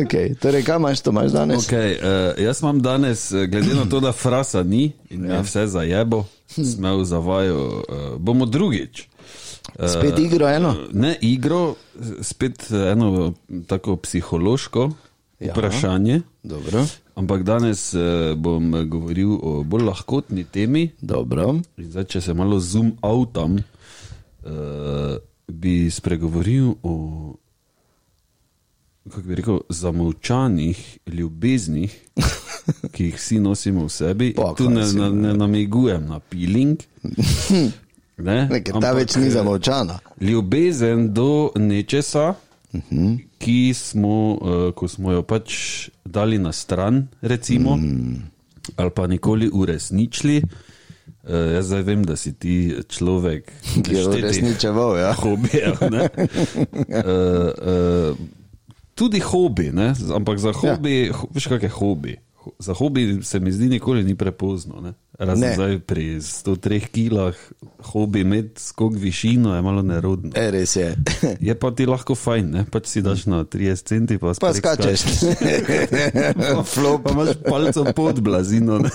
okay, torej, kaj imaš, to imaš danes? Okay, Okay. uh, jaz imam danes, eh, glede na to, da frasa ni in ja. Hm. je vse zajebo, smo v zavaju, uh, bomo drugič. Eh, Spet igro eno? Ne igro, spet eno tako psihološko Ja. ja. vprašanje, Dobro, ampak danes eh, bom govoril o bolj lahkotni temi. dobro. In zdaj, če se malo zoom outam, uh, bi spregovoril o kako bi rekel, zamolčanih ljubeznih, ki jih vsi nosimo v sebi. In Pokaj tu ne, si, ne, ne namigujem na piling. Ne, eh, Ne, ker ta več ni zamovčana. Ljubezen do nečesa, uh -huh. ki smo, uh, ko smo jo pač dali na stran, recimo, mm. ali pa nikoli uresničili. Uh, jaz zdaj vem, da si ti človek, Ki je neštetih uresničeval, ja. hobijev. ne. Uh, uh, tudi hobi, ne? z- ampak za hobi, ja. ho, veš, kaj je hobi. Ho- Za hobi se mi zdi, nikoli ni prepozno. Ne? Razen Ne. ne. zdaj pri 103 kilah, hobi imeti skok višino je malo nerodno. E, res je. Je pa ti lahko fajn, ne? pač si daš na 30 centi, pa, Pa spet skačeš. Pa, Flop. pa imaš palco pod blazino, ne?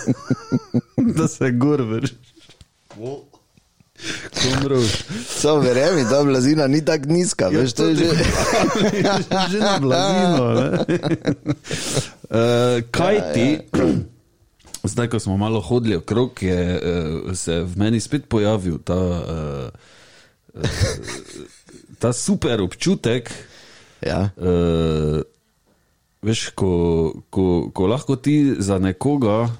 da se gor vrš. Komroš. So, verjemi, ta blazina ni tako nizka, veš, Ja, to je že. Ja, že na blazino. Uh, kaj Ja, ti? Zdaj, ko smo malo hodili okrog, je eh, se v meni spet pojavil ta, eh, eh, ta super občutek, Ja. eh, veš, ko, ko, ko lahko ti za nekoga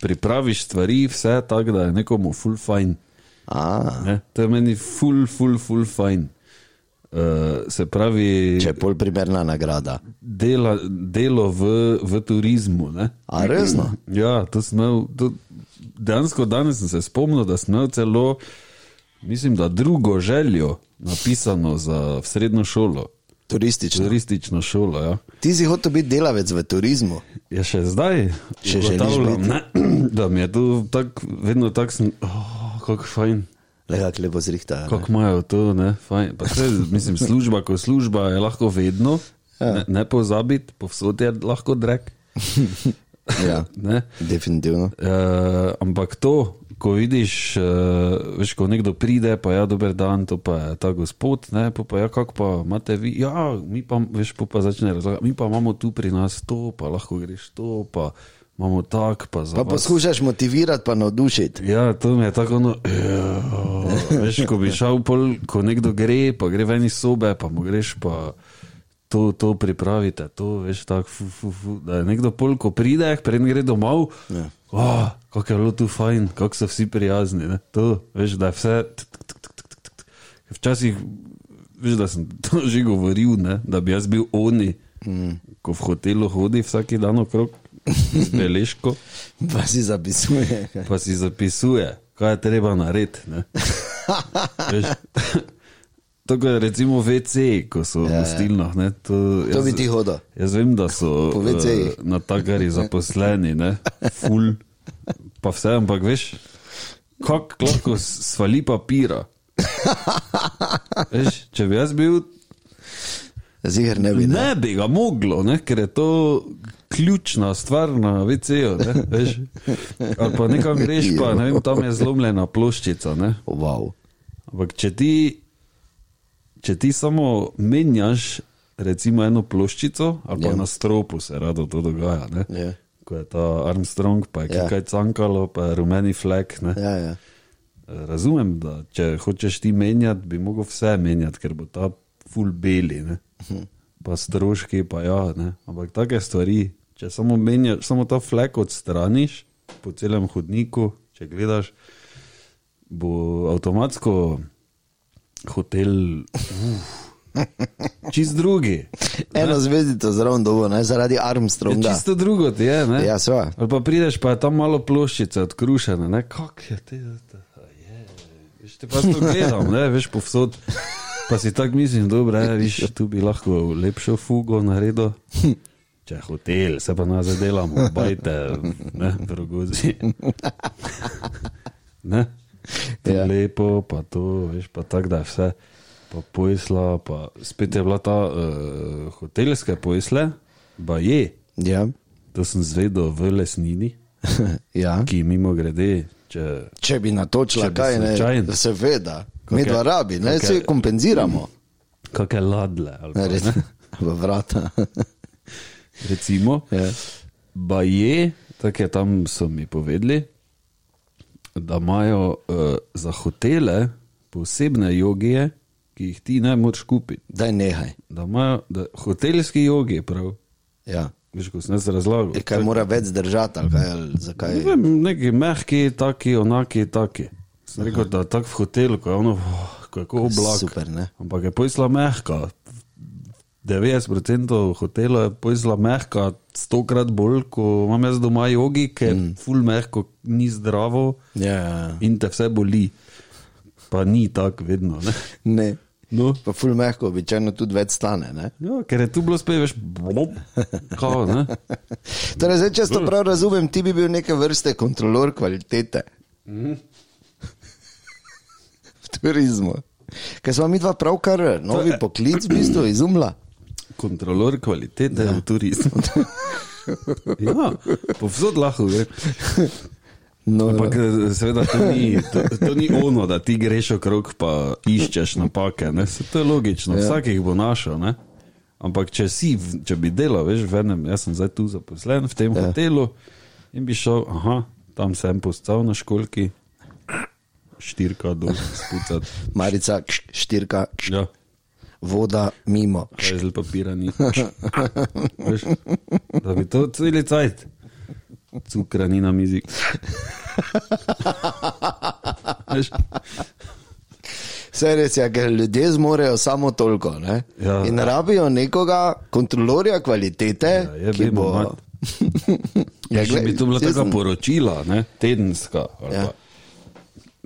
pripraviš stvari, vse tako, da je nekomu full fajn. A, Ne? To je meni full, full, full fajn. Uh, se pravi, če je pol primerna nagrada. dela, delo v, v turizmu. Ne? A resno? Ja, to sem imel, to, dejansko danes sem se spomnil, da sem imel celo, mislim, da drugo željo napisano za v srednjo šolo, Turistično. turistično šolo. Ja. Ti si hotel biti delavec v turizmu. Je Ja, še zdaj, Še želiš ugotavljam, ne, da mi je to tako, vedno tako, sem, oh, kako fajn. Le kako lepo zrihta. Kako imajo to, ne, fajn. Pa Se, mislim, služba kot služba je lahko vedno, ja. ne, ne pozabiti, povsod je lahko drek. Ja, Ne. definitivno. E, ampak to, ko vidiš, e, veš, ko nekdo pride, pa ja, dober dan, to pa je ta gospod, ne, pa, pa ja, kako pa imate vi, ja, mi pa, veš, pol pa začne razlagati, mi pa imamo tu pri nas to, pa lahko greš to, pa imamo tak, pa za Pa vas poskušaš motivirati, pa navdušiti. Ja, to mi je tako, ono, "Ja." veš, ko bi šel pol, ko nekdo gre, pa gre ven iz sobe, pa mu greš pa to, to pripravite, to veš tako, fu, fu, fu, da je nekdo pol, ko pride, preden gre domov, ja. oh, kako je bilo tu fajn, kako so vsi prijazni, ne? to veš, da je vse. t- t- t- t- t- t- t- Včasih, veš, da sem to že govoril, ne? da bi jaz bil oni, mm. ko v hotelu hodi vsak dan okrog, z beležko Pa si zapisuje. pa si zapisuje, kaj je treba narediti. ne. Veš, To, kar je recimo VC, ko so v gostilnah. ne, Ja, To jaz- bi ti hodil. Jaz vem, da so Po WC-jih. eh, natakari zaposleni, ne, ful, pa vse, ampak veš, kako lahko s- svali papira. Veš, če bi jaz bil, Zihar ne bi. Ne? ne bi ga moglo, ne, ker je to ključna stvar na VC-ju. ne, veš. Ali pa nekam greš, pa ne vem, tam je zlomljena ploščica. Ne. Wow. Ampak če ti, če ti samo menjaš, recimo, eno ploščico, ali pa Ja. ja. na stropu se rado to dogaja, ne? Ja. ko je ta Armstrong, pa je Ja. ja. kaj cankalo, pa je rumeni flek. Ne. Ja, ja. Razumem, da če hočeš ti menjati, bi mogel vse menjati, ker bo ta full beli, ne. pa stroški, pa ja. Ne. Ampak take stvari, če samo, menjaš, samo ta flek odstraniš po celem hodniku, če gledaš, bo avtomatsko hotel. uf, Čist drugi. Eno zvezdico zraven dobo, ne zaradi Je Armstronga. Ja, čisto drugo ti je. ne. Ja, sva. Ali pa prideš, pa je tam malo ploščice odkrušene, ne, kako je te. Veš, te pa to gledam, ne, veš povsod. Pa si tako mislim, dobro, je, viš, tu bi lahko lepšo fugo naredil. Če je hotel, se pa nazaj delamo, bajte, ne, rogozi. Ne, to Ja. ja. lepo, pa to, veš, pa tako da je vse. Pa pojsla, pa spet je bila ta uh, hotelske pojsle, pa je. Ja. To sem zvedel v lesnini, ja. ki mimo grede, če Če bi natočila Če bi kaj, ne, slučajno. seveda, mi Kakšne- dva rabi, ne, kakšne- se kompenziramo. kakšne ladle ali pa, Res, ne, v vrata. recimo, Ja. ba je, tako je tam so mi povedali, da imajo uh, za hotele posebne jogije, ki jih ti ne moreš kupiti. Daj nehaj. Da imajo da, hotelski jogi, prav, Ja. veš, ko sem jaz razlagal. E, kaj mora več zdržati, ali kaj, ali zakaj? Ne vem, neki mehki, taki, onaki, taki. Sem rekel, da tako v hotelu, ko je ono, "Oh, ko je kot oblak. Super, ne? Ampak je pojsla mehka. 90% hotelov je pojsla mehka, stokrat bolj, ko imam jaz doma jogi, ker mm. ful mehko ni zdravo Ja, ja. ja. in te vse boli. Pa ni tako vedno. Ne? Ne. No. Pa ful mehko, običajno tudi več stane. Ne? Ja, ker je tu bilo spet, veš, blob, kao, ne? Torej, zdaj, če to prav razumem, ti bi bil neke vrste kontrolor kvalitete. Mhm. v turizmu. Ker smo mi dva pravkar novi poklic v bistvu izumla. kontrolor kvalitete v turizmu. Ja, povsod lahko gre. No, Ampak eh, seveda to ni, to, to ni ono, da ti greš okrog pa iščeš napake. Ne? Saj To je logično, ja. vsak jih bo našel. Ne? Ampak če, si, v- če bi delal, veš, v enem, jaz sem zdaj tu zaposlen v tem ja. hotelu in bi šel, aha, tam sem postal na školki, štirka dol, spucat. Marica, kš, štirka, kš, Ja, voda mimo. Kš. kaj zelo papirani. Veš, da bi to celi cajt. Cukrani na mizi. Veš, Vse res je, ker ljudje zmorejo samo toliko. Ne? Ja. In rabijo nekoga, kontrolorja kvalitete, Ja, ja, je ki vemo, bo. mat. Ja, če bi to bila jaz taka sem- poročila, ne, tedenska. ali Ja. pa-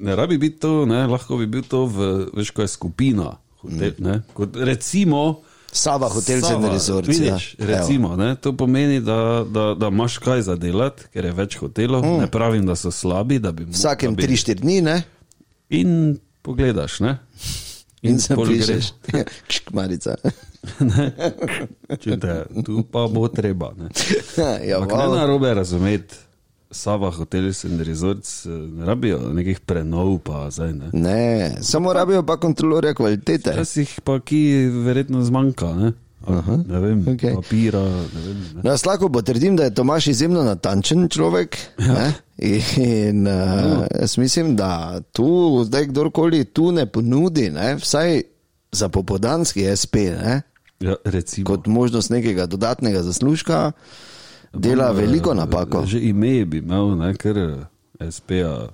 Ne rabi biti to, ne, lahko bi bil to, v, veš, ko je skupina. Hotel, ne, kot recimo, Sava Mm. hotel ja. se Sava, na rezortu. Vidiš, recimo, ne, to pomeni, da, da, da imaš kaj za delati, ker je več hotelov. Mm. Ne pravim, da so slabi. Da bi, mo- Vsakem da bi, 3-4 dni, ne? In pogledaš, ne? in se Ja, pol pišeš. Škmarica. ne, Če te, tu pa bo treba. Ne. ja, Ampak ne wow. na robe razumeti, Sava, hotels in resorts eh, ne rabijo nekih prenov, pa zdaj ne. ne, samo rabijo pa kontrolorja kvalitete. Včasih pa ki verjetno zmanjka, ne, Ali, ne vem, okej. okay. papira, ne vem. Ne. No, jaz lahko potrdim, da je Tomaš izjemno natančen človek. Ja. In uh, jaz mislim, da tu zdaj kdorkoli tu ne ponudi, ne, vsaj za popodanski SP, ne, Ja, recimo. kot možnost nekega dodatnega zaslužka, dela veliko napako. eh, Že ime bi imel, ne, ker eh, SP-ja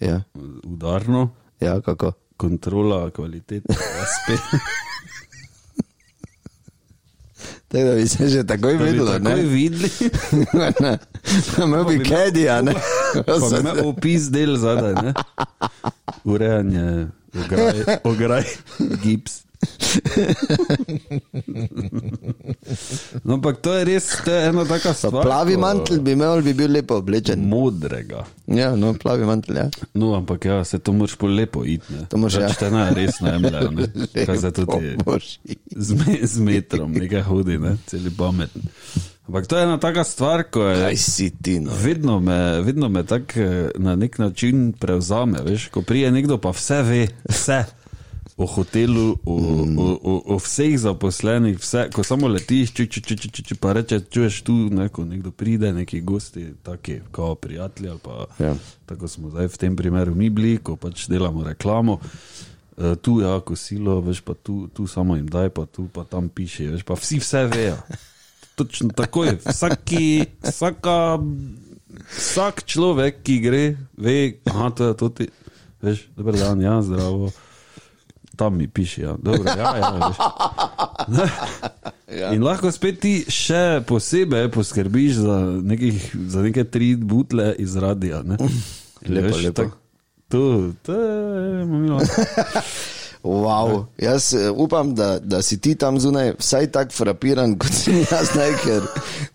Ja, udarno, ja kako. kontrola kvalitete SP. Tako da bi se že takoj Da bi vedelo, takoj ne? videli, Ne, imel bi kedija, ne? pa Se- ima opis del zadaj, ne. Urejanje ograj, ograj gips. No, ampak to je res to je ena taka Pa stvar. plavi ko- mantel bi imel, bi bil lepo oblečen. Modrega. Ja, no, plavi mantel, ja. No, ampak ja, se to moraš bolj lepo iti. To moraš, ja. Če te ne, res ne jemljajo. ne. Kaj se to ti Lepo, božji. z, me, z metrom, nekaj hodi, ne, celi pameten. Ampak to je ena taka stvar, ko je Kaj si ti, no? Vedno me, vedno me tako eh, na nek način prevzame. Veš, ko prije nekdo, pa vse ve, vse o hotelu, o, mm. o, o, o vseh zaposlenih, vse, ko samo letiš, če, če, če, če, če, če pa rečeš, čuješ tu, ne, ko nekdo pride, neki gosti, taki, kot prijatelji ali pa Ja. tako smo zdaj v tem primeru mi bili, ko pač delamo reklamo. eh, Tu je ja, kosilo, veš pa tu, tu samo jim daj, pa tu pa tam piše, veš pa vsi vse vejo. Točno tako je. Vsaki, vsaka, vsak človek, ki gre, ve, da to je to ti. Veš, dober dan, ja, zdravo. Tam mi piše, ja, dobro, ja, ja, veš. Ja. In lahko spet ti še posebej poskrbiš za, nekih, za neke tri butle iz radia. Ne? In Lepo, lepo. tako, To, to je milo. Wow. Jaz eh, upam, da, da si ti tam zunaj vsaj tako frapiran kot sem jaz, ne, ker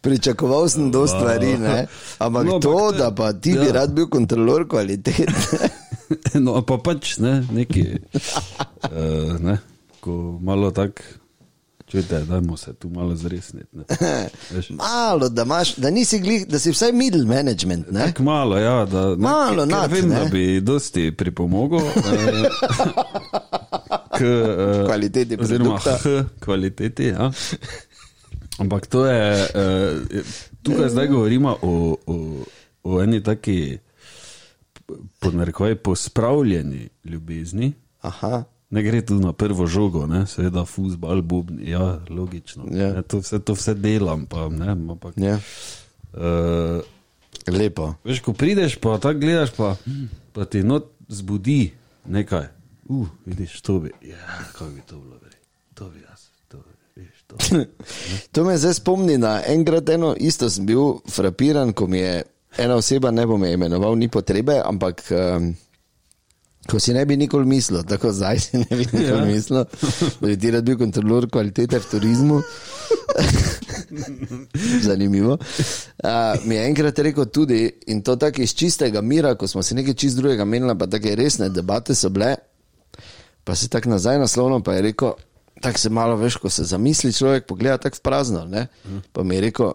pričakoval sem do stvari. Ne? Ampak No, no, ampak to, te- da pa ti ja. bi ja. rad bil kontrolor kvalitete. No, pa pač ne, neki. Uh, ne, ko malo tako, čujte, dajmo se tu malo zresniti. ne. Veš, Malo, da, imaš, da nisi glih, da si vsaj middle management. Ne? Tako malo, ja, da ne, Malo ker nad, vem, ne. da bi dosti pripomogel. eh, K eh, Kvaliteti oziroma produkta. H kvaliteti. Ja. Ampak to je, eh, tukaj zdaj govorimo o, o, o eni taki, podnarekovaj, pospravljeni ljubezni. Aha. Ne gre tu na prvo žogo, ne? seveda, fusbal, bubni, ja, logično. Ja. Ne, to, vse, to vse delam, pa ne, ampak. Ja. eh, Lepo. Veš, ko prideš, pa tako gledaš, pa, pa ti not zbudi nekaj. Uh, vidiš, to bi, ja, kako bi to bilo, vrej. to bi jaz, to bi, vidiš, to bi. To me zdaj spomni na enkrat eno, isto sem bil frapiran, ko mi je ena oseba, ne bom je imenoval, ni potrebe, ampak um, ko si ne bi nikoli mislil, tako zdaj si ne bi nikoli ja. Ja. mislil, da bi ti rad bil kontrolor kvalitete v turizmu. Zanimivo. Uh, mi je enkrat rekel tudi, in to tako iz čistega mira, ko smo se nekaj čist drugega menili, pa tako resne debate so bile. Pa si tako nazaj naslovno, pa je rekel, tako se malo veš, ko se zamisli človek, pogleda tako v prazno. Ne? Pa mi je rekel,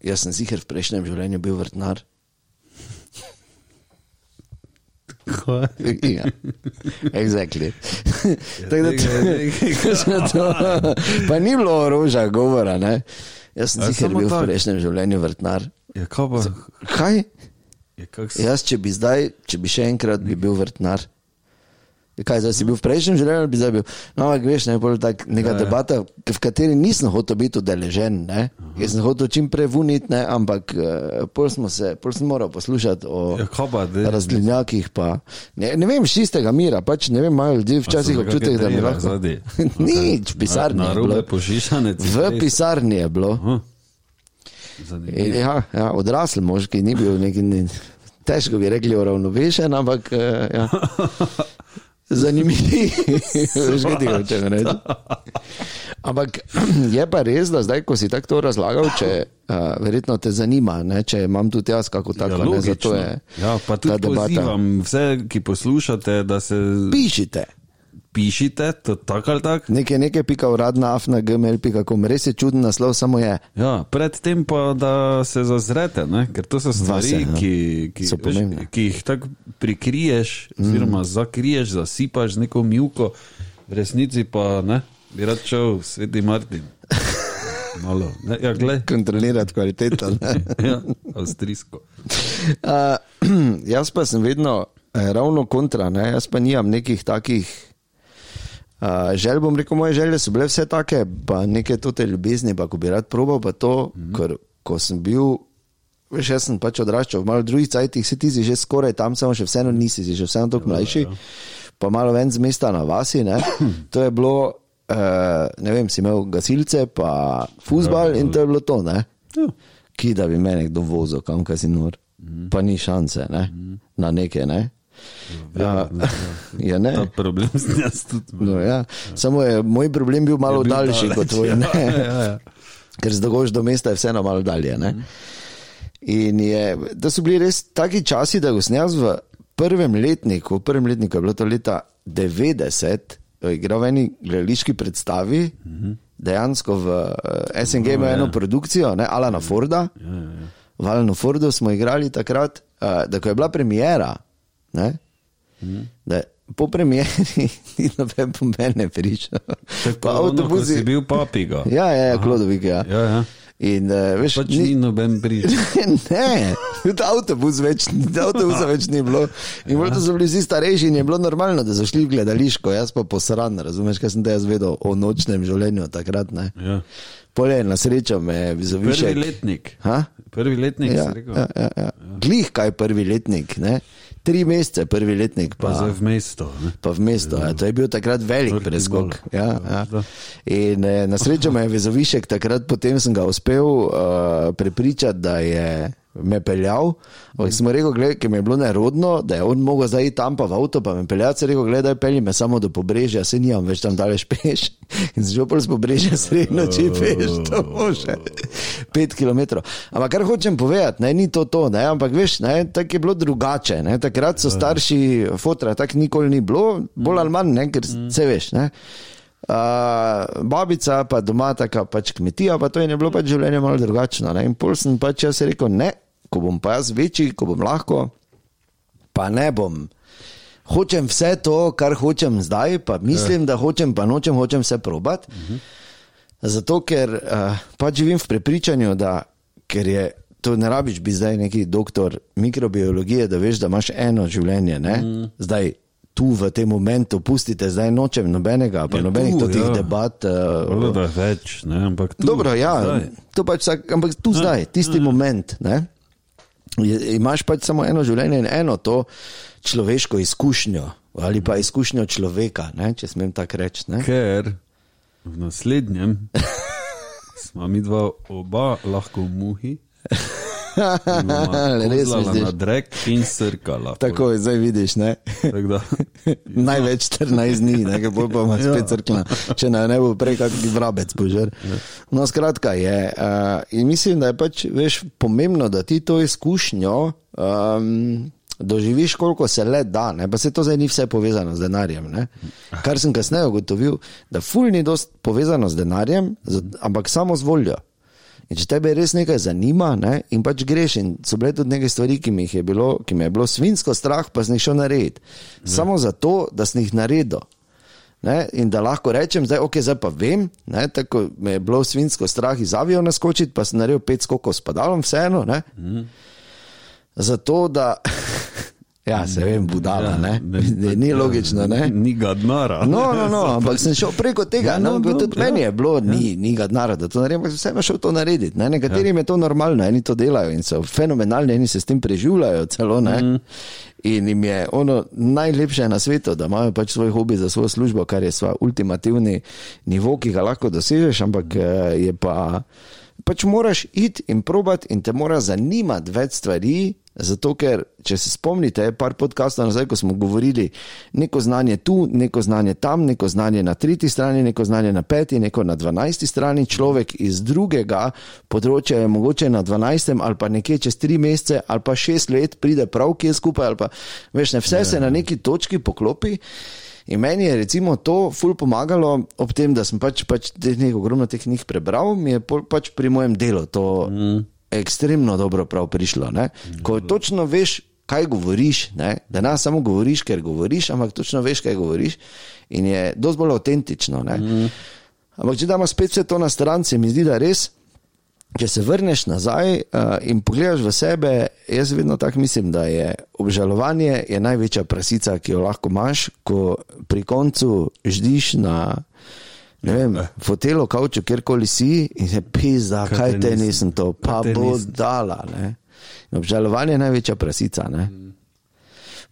jaz sem sicer v prejšnjem življenju bil vrtnar. Kaj? Ja, exactly. Tako da Ja, tega je nekaj, to, pa ni bilo orožja govora. Ne? Jaz sem A je sicer samo bil v tako? prejšnjem življenju vrtnar. Ja, kaj pa, Kaj? ja, kak se, Jaz, če bi zdaj, če bi še enkrat bi bil vrtnar. Ja, Kaj, zdaj si bil v prejšnjem življenju, ali bi zdaj bil. No, ampak veš, ne, pol tak, neka ja, debata, k- v kateri nisem hotel biti udeležen. ne. Jaz sem hotel čim prej vuniti, ne, ampak eh, pol, smo se, pol sem moral poslušati o ja, kaj pa, da razglednjakih. Ne, ne vem, iz čistega mira, pač ne vem, imajo ljudje včasih občutek, da mi lahko. Zadi. Nič, pisarni Na je bilo. robe pošišane. V pisarni je bilo. In, Zanimivo. Ja, ja, odrasel moški ni bil neki, ne, težko bi rekli, uravnovešen, ampak eh, ja. zanimiv. Veš, kaj ti hočem reči. Ampak je pa res, da zdaj, ko si tako to razlagal, če, uh, verjetno te zanima, ne, če imam tudi jaz kako Ja, tako. ne, zato logično. je ja, pa ta tudi debata. pozivam vse, ki poslušate, da se Pišite. pišite, to tako ali tako. Nekaj, nekaj, pika uradna, afna, gmail.com, res je čuden naslov, samo je. Ja, predtem pa, da se zazrete, ne? ker to so stvari, Vase, Vase, ja. ki, ki, So pomembne. ki jih tako prikriješ, oziroma mm. zakriješ, zasipaš z neko mjuko, v resnici pa ne, bi rad šel, sveti Martin. Malo, ne, ja, gled, Kontrolirati kvaliteto. ne. ja, avstrijsko. Uh, jaz pa sem vedno eh, ravno kontra, ne? jaz pa nimam nekih takih. Uh, želj bom rekel, moje želje so bile vse take, pa nekaj te ljubezni, pa ko bi rad probal, pa to, mm -hmm. ker ko sem bil, veš, jaz sem pač odraščal v malo drugih cajtih, se ti si že skoraj tam, samo še vseeno nisi, si že vseeno tako mlajši, pa malo ven z mesta na vasi, ne? to je bilo, uh, ne vem, si imel gasilce, pa fusbal in to je bilo to, ne? Ja. ki da bi me nekdo vozil, kam kaj si nor, mm. pa ni šanse ne? mm. na neke. Ne? Ja, ja, ne? Ta problem s jaz tudi. imam. No, ja. Samo je moj problem bil malo Je bil daljši daleč, kot tvoj, ja, ne? ja, ja. ker zdogoš do mesta je vseeno malo dalje. Ne? In je, da so bili res taki časi, da ko sem jaz v prvem letniku, v prvem letniku je bilo to leta 90, eh, igral v eni gledališki predstavi, Mhm. dejansko v eh, SNG No, imel ja. eno produkcijo, ne, Alana Forda. V Alanu Fordu smo igrali takrat, eh, da ko je bila premjera, ne, da je po premjeri ni noben po mene pričal. Pa avtobus je avtobusi. bil papiga. Ja, ja, ja Klodovik. Ja. Ja, ja. In uh, veš, Pač ni noben prišel. ne, tudi avtobus več, avtobusa več ni bilo. Ja. In bolj so bili vsi starejši in je bilo normalno, da so šli v gledališko, jaz pa posran, razumeš, kaj sem te jaz vedel o nočnem življenju takrat. Ne? Ja. Polje na srečo me Prvi zavišek. letnik. Ha? Prvi letnik ja, Ja, si rekel. ja, ja, ja. Glih, kaj je prvi letnik, ne? tri mesece prvi letnik. Pa Pa, zdaj v mesto. Ne? Pa v mesto, ja. to je bil takrat velik Vrti preskok. dol. Ja, ja. Da. In eh, na srečo me je vezovišek, takrat potem sem ga uspel uh, prepričati, da je me peljal. Ampak sem mu rekel, gled, ker mi je bilo nerodno, da je on mogel zdaj iti tam pa v avto, pa me peljal, se rekel, gledaj, pelji me samo do pobrežja, se nijam več tam daleč peš. In začel pol z pobrežja sredno, če peš, to može. Pet km. Ampak kar hočem povedati, ne, ni to to, ne, ampak veš, ne, tako je bilo drugače. Ne, takrat so starši fotra, tako nikoli ni bilo, bolj ali manj, ne, ker se veš. Ne. Uh, babica, pa doma, tako pač kmetija, pa to je bilo pač življenje malo drugačno. Ne? In pol sem pač jaz rekel, ne, ko bom pa jaz večji, ko bom lahko, pa ne bom. Hočem vse to, kar hočem zdaj, pa Ja. mislim, da hočem, pa nočem, hočem vse probati. Uh -huh. Zato, ker uh, pač živim v prepričanju, da ker je. To ne rabiš biti zdaj neki doktor mikrobiologije, da veš, da imaš eno življenje. Mm. Zdaj, tu v tem momentu, pustite, zdaj nočem nobenega, pa Ja, ja, nobenih tu, tu, totih ja. ja. debat. Uh, Vrlo da je več, ne? ampak tu. Dobro, ja, zdaj. to pač vsak, ampak tu zdaj, tisti moment. Ne? je- Imaš pač samo eno življenje in eno to človeško izkušnjo, ali pa izkušnjo človeka, ne? če smem tako reči. ne. Ker v naslednjem smo mi dva oba lahko muhi. Res misliš? na drek in srkala. Tako je, zdaj vidiš. ne. Tako da, Največ 14 dni, nekaj bolj pa ima spet crkna, če ne, ne bo prej kakšen vrabec požar. No, skratka je. Uh, in mislim, da je pač veš, pomembno, da ti to izkušnjo um, doživiš, koliko se le da. Ne? Pa se to zdaj ni vse povezano z denarjem. Ne? Kar sem kasneje ugotovil, da ful ni dost povezano z denarjem, z, ampak samo z voljo. In če tebe res nekaj zanima, ne, in pač greš, in so bile tudi neke stvari, ki mi jih je bilo, ki mi je bilo svinsko strah, pa sem jih šel narediti. Samo zato, da sem jih naredil. Ne, in da lahko rečem, zdaj, okay, zdaj pa vem, ne, tako me je bilo svinsko strah iz aviona skočiti, pa sem naredil pet skokov s padalom, vseeno. Ne, zato, da. Ja, se vem, budala, ne? ni logično. Ne? ja, ni gadnara. No, no, no, ampak sem šel preko tega. Ja, Ja, no, no, no, tudi dobro, ja. meni je bilo, ni, ni ga denarja, da to naredim, ampak sem vseeno šel to narediti. Ne? Nekaterim ja. je to normalno, eni to delajo in so fenomenalni, eni se s tem preživljajo celo. Mm. In jim je ono najlepše na svetu, da imajo pač svoj hobi za svojo službo, kar je svoj ultimativni nivo, ki ga lahko dosežeš, ampak eh, je pa. Pač moraš iti in probati, in te mora zanimati več stvari, zato ker, če se spomnite, je par podkastov nazaj, ko smo govorili, neko znanje tu, neko znanje tam, neko znanje na tretji strani, neko znanje na peti, neko na dvanajsti strani. Človek iz drugega področja je mogoče na dvanajstem ali pa nekje čez tri mesece ali pa šest let pride prav, ki je skupaj. ali Pa, veš, ne, vse ne. se na neki točki poklopi. In meni je recimo to ful pomagalo, ob tem, da sem pač, pač teh nekaj ogromno teh knjig prebral, mi je pol pač pri mojem delu to mm. ekstremno dobro prav prišlo. Ne? Ko točno veš, kaj govoriš, ne? da ne samo govoriš, ker govoriš, ampak točno veš, kaj govoriš in je dosti bolj avtentično. Mm. Ampak če damo spet vse to na stran, se mi zdi, da res če se vrneš nazaj uh, in pogledaš v sebe, jaz vedno tako mislim, da je obžalovanje je največja prasica, ki jo lahko imaš, ko pri koncu ždiš na. Ne vem, fotelo, kavču, kjerkoli si in se pisa, Kaj kaj te te nisem, nisem to, pa te bo nisem." dala. Ne? In Obžalovanje je največja prasica. Ne? Mm.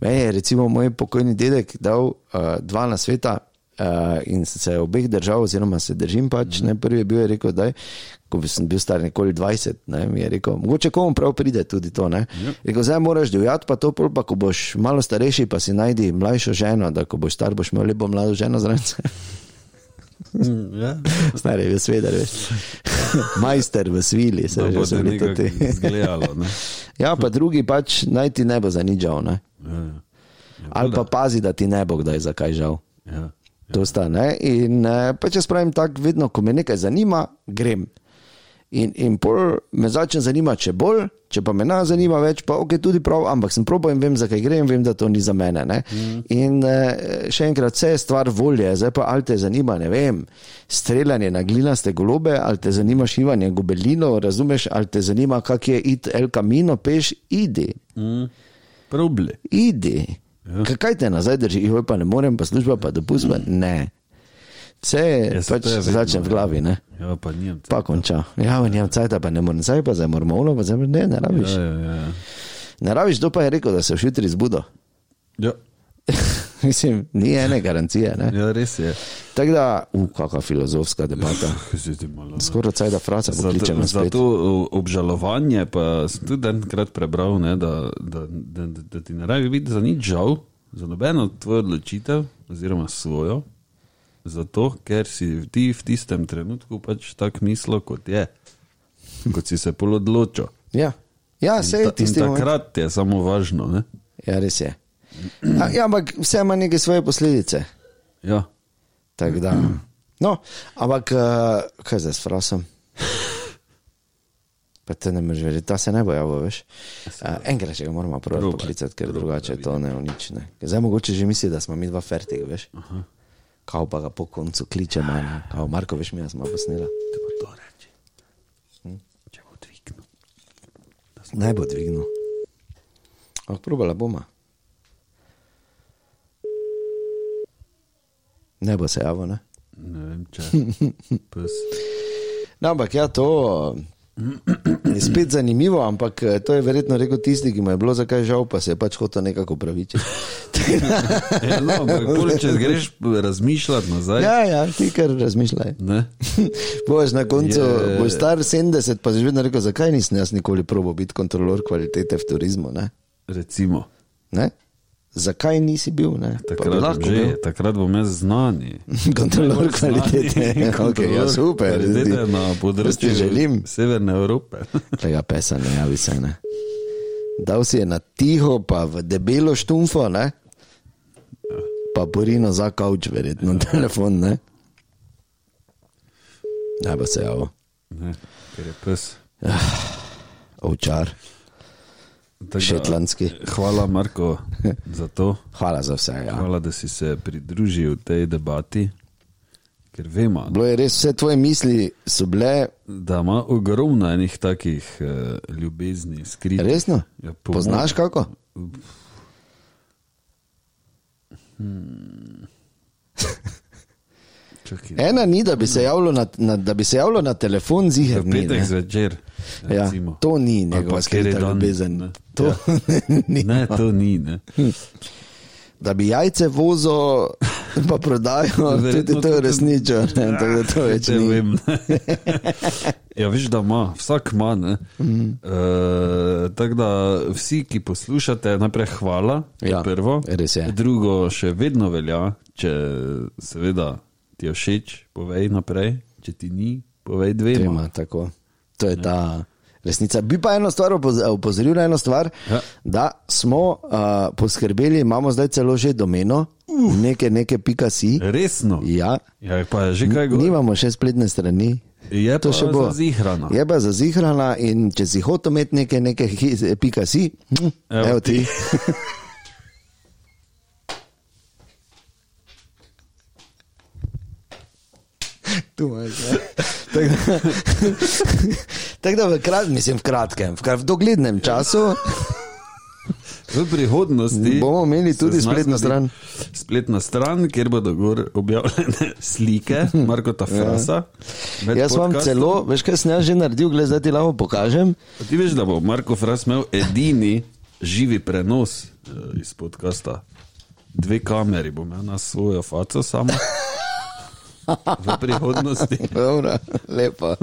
Meni je recimo moj pokojni dedek dal uh, dva na sveta uh, in sem se obeh držal, oziroma se držim pač. Mm. Ne, prvi je bil je rekel, da je, ko bi sem bil star nekoli 20, ne, mi je rekel, mogoče komu prav pride tudi to. Ne. Rekel, zdaj moraš divjati, pa to pol, pa ko boš malo starejši, pa si najdi mlajšo ženo, da ko boš star, boš imel lepo mlado ženo zraven. sebe." Ja. Star je bil sveder, veš. Majster v svili, se Da bo že se so bili nekaj tudi. izgledalo. Ne? ja, pa drugi pač naj ti ne bo zanižal, ne. Ja, ja. ali pa pazi, da ti ne bo kdaj zakaj žal. Ja. To sta ne. In eh, pač jaz pravim tako, vedno, ko me nekaj zanima, grem. In, in pol me začne zanimati še bolj, če pa me ne zanima več, pa ok, tudi prav, ampak sem probo in vem, zakaj grem, vem, da to ni za mene. Ne? In eh, še enkrat, vse je stvar volje, zdaj pa ali te zanima, ne vem, streljanje na glinaste golobe, ali te zanima šivanje gobelinov, razumeš, ali te zanima, kak je id El Camino, peš, idi, Mm, Probli. idi. Ja. Kaj te nazaj drži, joj pa ne morem, pa služba, pa dopust, pa ne. Vse je, Mm. Ja, saj pač to je vedno, začne v glavi, ne. Ja, pa nijem. Pa konča. Ja, v njem cajt, pa ne morem, zdaj pa zdaj moramo ono, pa zdaj ne, ne rabiš. Ja, ja, ja. Ne rabiš, kdo pa je rekel, da se vsi jutri zbudo. Ja, Mislim, ni ene garancije. Ne? ja, res je. Tako da, uh, kakšna filozofska debata. Kaj si ti malo? Skoraj caj da fraza, Zato, pokličemo spet. zato o- obžalovanje, pa sem tudi enkrat prebral, ne, da, da, da, da, da ti ne rabi biti za nič žal, za nobeno tvojo odločitev, oziroma svojo, zato ker si ti v tistem trenutku pač tako mislil, kot je, kot si se pol odločil. Ja, ja In sej ta- in tisti moment. Takrat je samo važno. Ne? Ja, res je. A, ja, ampak vse ima neke svoje posledice. Ja. Tako Da. No, ampak eh, kaj zdaj s frasom? Pa te ne moreš verjeti, ta se ne bo javil, veš. Uh, enkrat še ga moramo prav Probaj, poklicati, ker drugače to ne unične. Zdaj mogoče že misli, da smo mi dva fertig, veš. Kao pa ga po koncu kliče manj, kao Marko, veš, mi ja smo posnela. Te bo to reči. Hm. Če bo dvignil. Naj bo dvignil. Ampak probala bomo. Ne bo se javil, ne? Ne vem, če. Pes. No, ampak ja, to je spet zanimivo, ampak eh, to je verjetno rekel tisti, ki mu je bilo zakaj žal, pa se je pač hotel nekako upravičiti. Ja, no, ampak pol, če greš razmišljati nazaj, ja, ja, ti kar razmišljaj. ne? Boš na koncu, Je- je... boš star 70, pa si vedno rekel, zakaj nisem jaz nikoli probo biti kontrolor kvalitete v turizmu. Ne? Recimo, Ne? Zakaj nisi bil? Ne? Pa bi takrat, lahko bil. že, takrat bom jaz znani. Kontrolor kvalitete. okay, ja, super. Zdaj zdaj- na jaz ti področju želim. Severne Evrope. Tega pesa ne javi se. Ne? Dal si je na tiho, pa v debelo štumfo, ne? pa porino za kavč, verjetno Ja. telefon. Ne, ne pa se ja, javo, Ne, ker je pes. ovčar, Tako da, šetlanski. Hvala, Marko, za to. Hvala za vse. Ja. Hvala, da si se pridružil tej debati, ker vemo, Bilo je res, vse tvoje misli so bile da ima ogromno enih takih uh, ljubezni, skritih. resno. Ja, po Poznaš kako? Čakaj, Ena ni, da bi se javilo na, na, da bi se javilo na telefon, Ja. v zihar. ni, petek ne. zvečer. Ja, recimo. to ni Ali pa njegova kateri skrita dan, ljubezen. ne. To Ja. ni. Ne, to ni. Ne. da bi jajce vozil, pa prodajal, Verjetno tudi to je tudi- resnično. Ne, tako da to več Ne ni. vem. ne. ja, veš, da ima, vsak ima. Mm -hmm. e, tako da vsi, ki poslušate, najprej hvala. Ja, prvo, res je. Drugo, še vedno velja, če seveda ti je všeč, povej naprej, če ti ni, povej dvema. Tema, tako. To je ta resnica. Bi pa eno stvar opoz- opozoril na eno stvar, Ja. da smo uh, poskrbeli, imamo zdaj celo že domeno, nekaj, nekaj, pika si. Resno. Ja. Ja, pa je že kaj govoril. Nimamo še spletne strani. Je To pa še bo. Ja, Zihrana. Je pa zazihrana in če si hotel imeti nekaj, nekaj, hi- pika si, hm, Evo evo ti. Tu imaš, ne. Tako da- Tako da v kratkem, mislim, v kratkem, v, krat, v doglednem času V prihodnosti Bomo imeli se tudi z nas spletno zgodi stran. Spletna stran, kjer bodo gor objavljene slike Marko Tafrasa. med Ja. Jaz imam podcastom. celo, veš kaj sem jaz že naredil, gled, zdaj ti lahko pokažem. A Ti veš, da bo Marko Fras imel edini živi prenos eh, iz podcasta. Dve kameri bom imel na svojo faco samo. V prihodnosti. Dobro, lepo.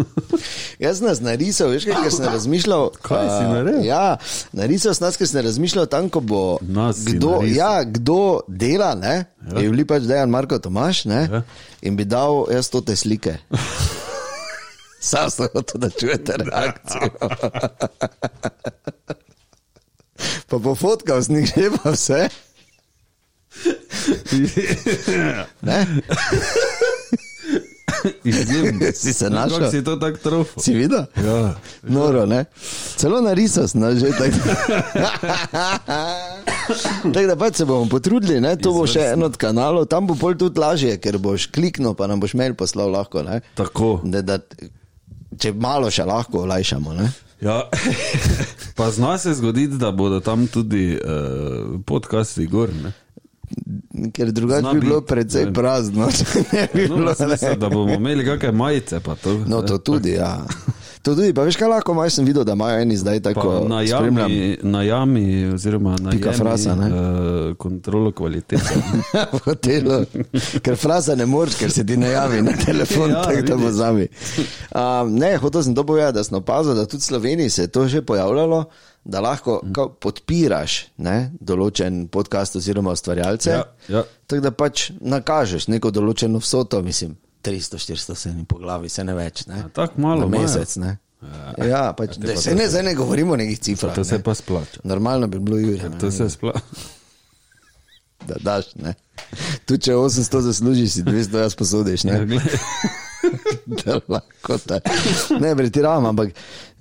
Jaz sem nas narisal, veš, kaj, ker sem razmišljal. Kaj si a, naredil? Ja, narisal sem nas, ker sem razmišljal tam, ko bo Nas si kdo, narisal. ja, kdo dela. Ne? Ja. Je bil pač dejan Marko Tomaš ne? Ja. ja. in bi dal jaz to te slike. Sam sem hotel, da čujete reakcijo. pa pofotkal sem jih že pa vse. Ne? izjemno. Si Ne se vem, našel? kako Si to tako trofil. Si videl? Ja. Noro, ne? Celo narisal sem, no, že tako. tako da pač se bomo potrudili, ne? to bo še en od kanalov, tam bo pol tudi lažje, ker boš kliknil, pa nam boš mail poslal lahko. Ne? Tako. Da, da, če malo še lahko olajšamo. Ne? Ja. pa zna se zgoditi, da bodo tam tudi uh, podcasti gor. Ne? Ker drugače Zna bi bilo biti, ne precej vem. prazno, če ne bi No, bilo. jaz mislim, da bomo imeli kakšne majice. pa To, eh. No, ne. to tudi, ja. To tudi, pa veš, kaj lahko imaš, sem videl, da imajo eni zdaj tako. Pa na spremljam. jami, na jami, oziroma na Pika jami, frasa, ne? eh, kontrolo kvalitete. v hotelu, ker fraza ne moreš, ker se ti ne javi na telefon, ja, Ja, tako da bo vidiš. zami. Um, ne, hotel sem to povedati, da sem opazil, da tudi v Sloveniji se je to že pojavljalo, da lahko Mhm. kao, podpiraš ne, določen podcast oziroma ustvarjalce. Ja, ja. Tako da pač nakažeš neko določeno vsoto, mislim, 300, 400 se ni po glavi, se ne več. Ne. Ja, tako malo Na imajo. mesec. Ne. Ja, ja pač, ja, se ne, zdaj ne govorimo o nekih cifrah. To se ne. pa splača. Normalno bi bilo Jurija. To se splača. da daš. Ne? Tu če 800 zaslužiš, si 200 jaz posodiš. Ne, da lahko ta. Ne, pretiravam, ampak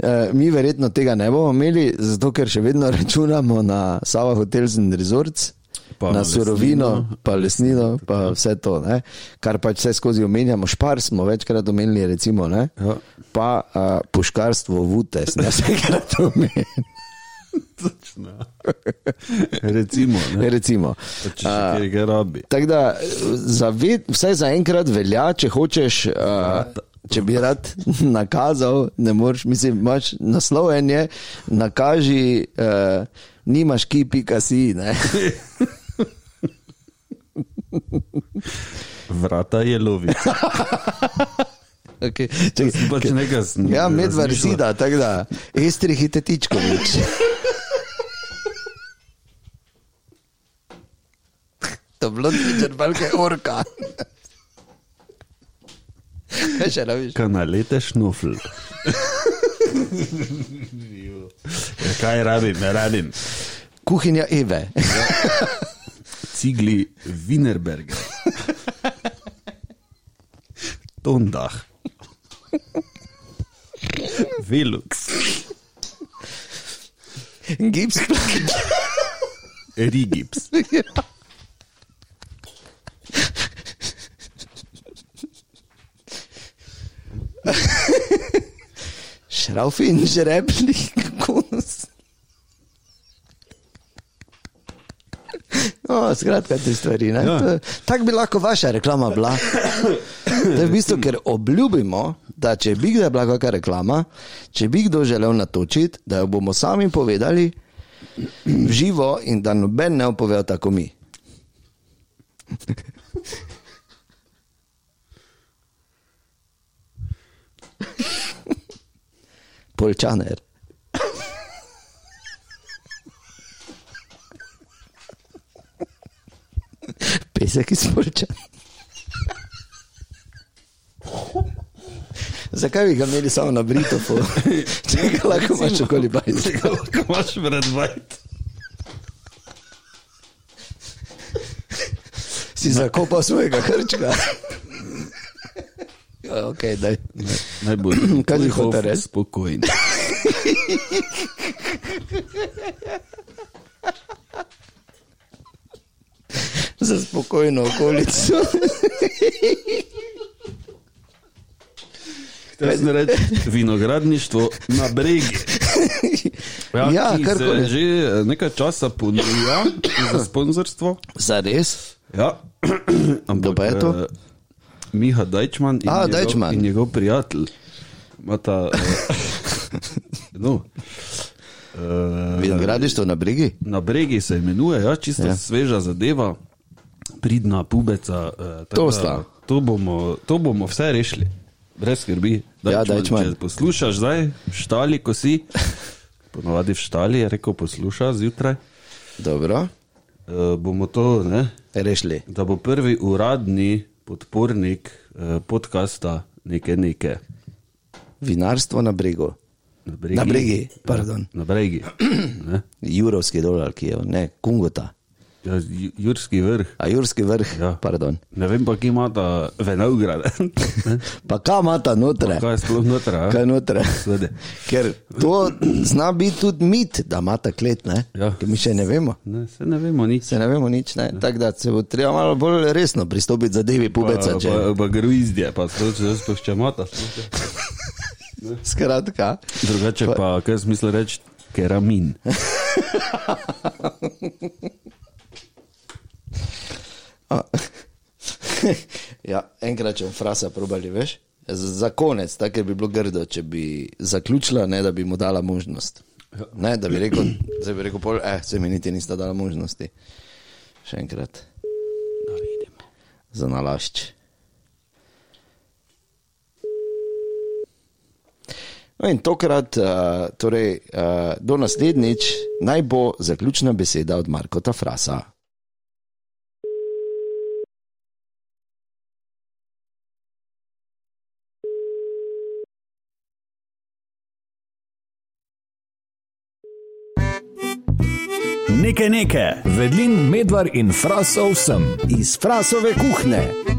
eh, mi verjetno tega ne bomo imeli, zato ker še vedno računamo na Sava Hotels and Resorts. Pa Pa na na surovino, pa lesnino, pa vse to, ne? kar pač vse skozi omenjamo, špar smo večkrat omenili, recimo, ne? Ja. pa uh, puškarstvo, vute, ne vsekrat omenili. Recimo, ne? Recimo. Ja. če še kaj ga rabi. Tako da, za ved, vsaj za enkrat velja, če hočeš. Uh, Če bi rad nakazal, ne moreš, mislim, imaš naslov en je, nakaži, uh, nimaš ki, pika si. ne. Vrata je lovi. Okay. Čekaj, Pač nekaj sem ja, medvar razmišljal. zida, tako da, estri hitetičko več. To bilo ti črpalke orka. Kaj še rabiš? Kanalete šnufl. Ja, Kaj rabim, ne rabim. Kuhinja Eve. Cigli Wienerberger. Tondah. Velux. Gips. Rigips. Šrauf in žreblik, kunus. No, skratka, te stvari. Ja. Ja. Tako bi lahko vaša reklama bila. To je v bistvu, ker obljubimo, da če bi kdaj bila kakšna reklama, če bi kdo želel natočiti, da jo bomo sami povedali v živo in da noben ne opove tako mi. Polčaner. Pesek iz Polčana. Zakaj bi ga imeli samo na Britofu? Če ga lahko imaš okoli bajt. Kako imaš vred vajt? Si zakopal svojega hrčka. Ja, ok, daj. Najbolj. Kaj si hotel reči? Spokojen. Za spokojno okolico. Kaj si reči? Vinogradništvo na bregi. Ja, ki karkoli. se Že eh, nekaj časa ponuja za sponzorstvo. Za res? Ja. Kdo pa je to? eh, Miha Dajčman in, A, njegov, Dajčman. in njegov prijatelj. Mata, uh, no, uh, Vinogradištvo na brigi? na bregi se imenuje, ja, čisto Ja. ja. sveža zadeva, pridna pubeca. eh, tako To da sta. to, bomo, to bomo vse rešili, brez skrbi. Ja, Dajčman, Dajčman. Če poslušaš zdaj, štali, ko si, ponovadi v štali, je rekel, posluša zjutraj, Dobro. uh, bomo to, ne, Rešili. da bo prvi uradni podpornik eh, podcasta neke neke. Vinarstvo na bregu. Na bregi. Na bregi, pardon. Na bregi. ne. Jurovski dolar, ki je, ne, kungota. Ja, Ju- Jurski vrh. A Jurski vrh, ja. Ja. pardon. Ne vem pa, kje ima ta Venovgrad. Pa kaj ima ta noter? Kaj ja? je sploh noter? a? Torej. Kaj je no- noter? Svede. Ker to zna biti tudi mit, da ima ta klet, ne? Ja. Ker mi še ne vemo. Ne, se ne vemo nič. Se ne vemo nič, ne. Tako da se bo treba malo bolj resno pristopiti zadevi pubeca, če pa, pa gruizdje, pa to če sploh še mata. skratka. Drugače pa, kaj smisel reči, keramin. A. ja, enkrat če bom frasa probali, veš. Z- Za konec, tako ker bi bilo grdo, če bi zaključila, ne da bi mu dala možnost. Ne, da bi rekel, zdaj bi rekel, pol, eh, se mi niti nista dala možnosti. Še enkrat. Za nalašč. No in tokrat, uh, torej, uh, do naslednjič, naj bo zaključna beseda od Markota Frasa. Nekaj nekaj Vedlin, Medvar in Frasov sem. iz frasove kuhne.